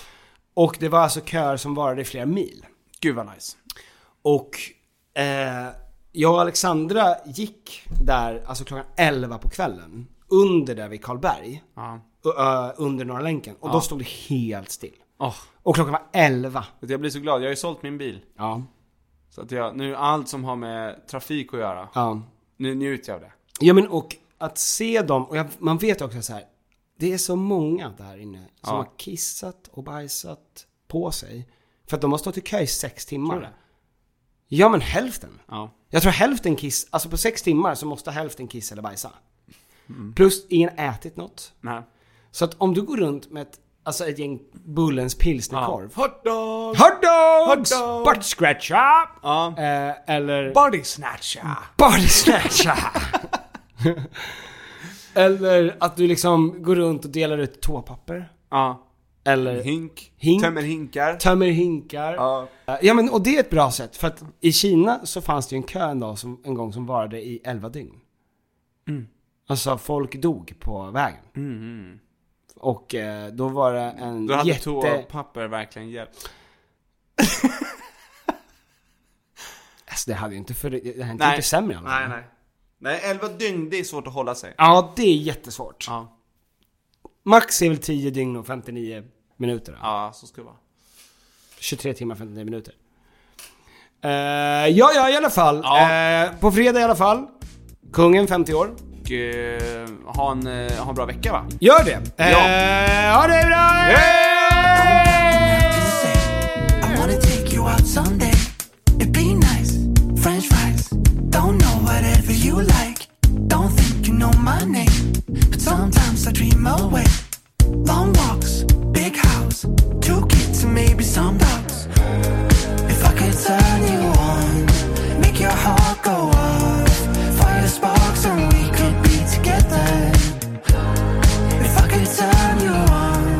Och det var alltså köer som varade i flera mil.
gud vad nice.
Och eh, jag och Alexandra gick där, alltså klockan 11 på kvällen, under där vid Karlberg,
Ja.
ö- ö, under Norra länken. Och då stod det helt still.
Åh,
Och klockan var 11.
jag blir så glad. Jag har ju sålt min bil.
Ja.
Så att jag, nu allt som har med trafik att göra,
Ja.
nu njuter jag av det.
Ja men och att se dem, och jag, man vet också så här. Det är så många där inne som
Ja.
har kissat och bajsat på sig. För att de har stått i kö i sex timmar.
Tror du det?
Ja men hälften.
Ja.
Jag tror hälften kiss, alltså på sex timmar så måste hälften kissa eller bajsa. Plus ingen ätit något.
Mm. Nej.
Så att om du går runt med ett, alltså ett gäng Bullens pilsnerkorv.
Hotdog!
Hot dogs!
Hot dogs!
Butt scratcher!
Ja.
Eh, eller...
Body snatcher!
Body snatcha! Eller att du liksom går runt och delar ut toapapper.
Ja.
Eller
Hink.
Hink.
Tömmer hinkar.
tömmer hinkar. Eh,
Ja.
Ja men och det är ett bra sätt för att i Kina så fanns det ju en kö en dag som, en gång som varade i 11 dygn. Alltså folk dog på vägen. Och eh, då var det en
Då Mm-hmm. hade
jätte...
toapapper verkligen hjälpt.
alltså det hade ju inte för... Det hade inte sämre i alla fall.
Nej, nej. Nej, 11 dygn, det är svårt att hålla sig.
Ja det är jättesvårt.
Ja.
Max är väl 10 dygn och 59 minuter. då.
Ja, så ska det vara.
23 timmar 59 minuter. Eh, ja, ja i alla fall.
Ja.
Eh, på fredag i alla fall. Kungen 50 år.
och eh, ha, en, eh, ha en bra vecka va?
Gör det!
Ja.
Eh, ha det bra!
I wanna take you out someday. It'd be nice. French fries. Don't know whatever you like. Don't think you know my name. But sometimes I dream away. Long walks, big house, two kids and maybe some dogs. If I could turn you on, make your heart go off. Fire sparks and we could be together. If I could turn you on,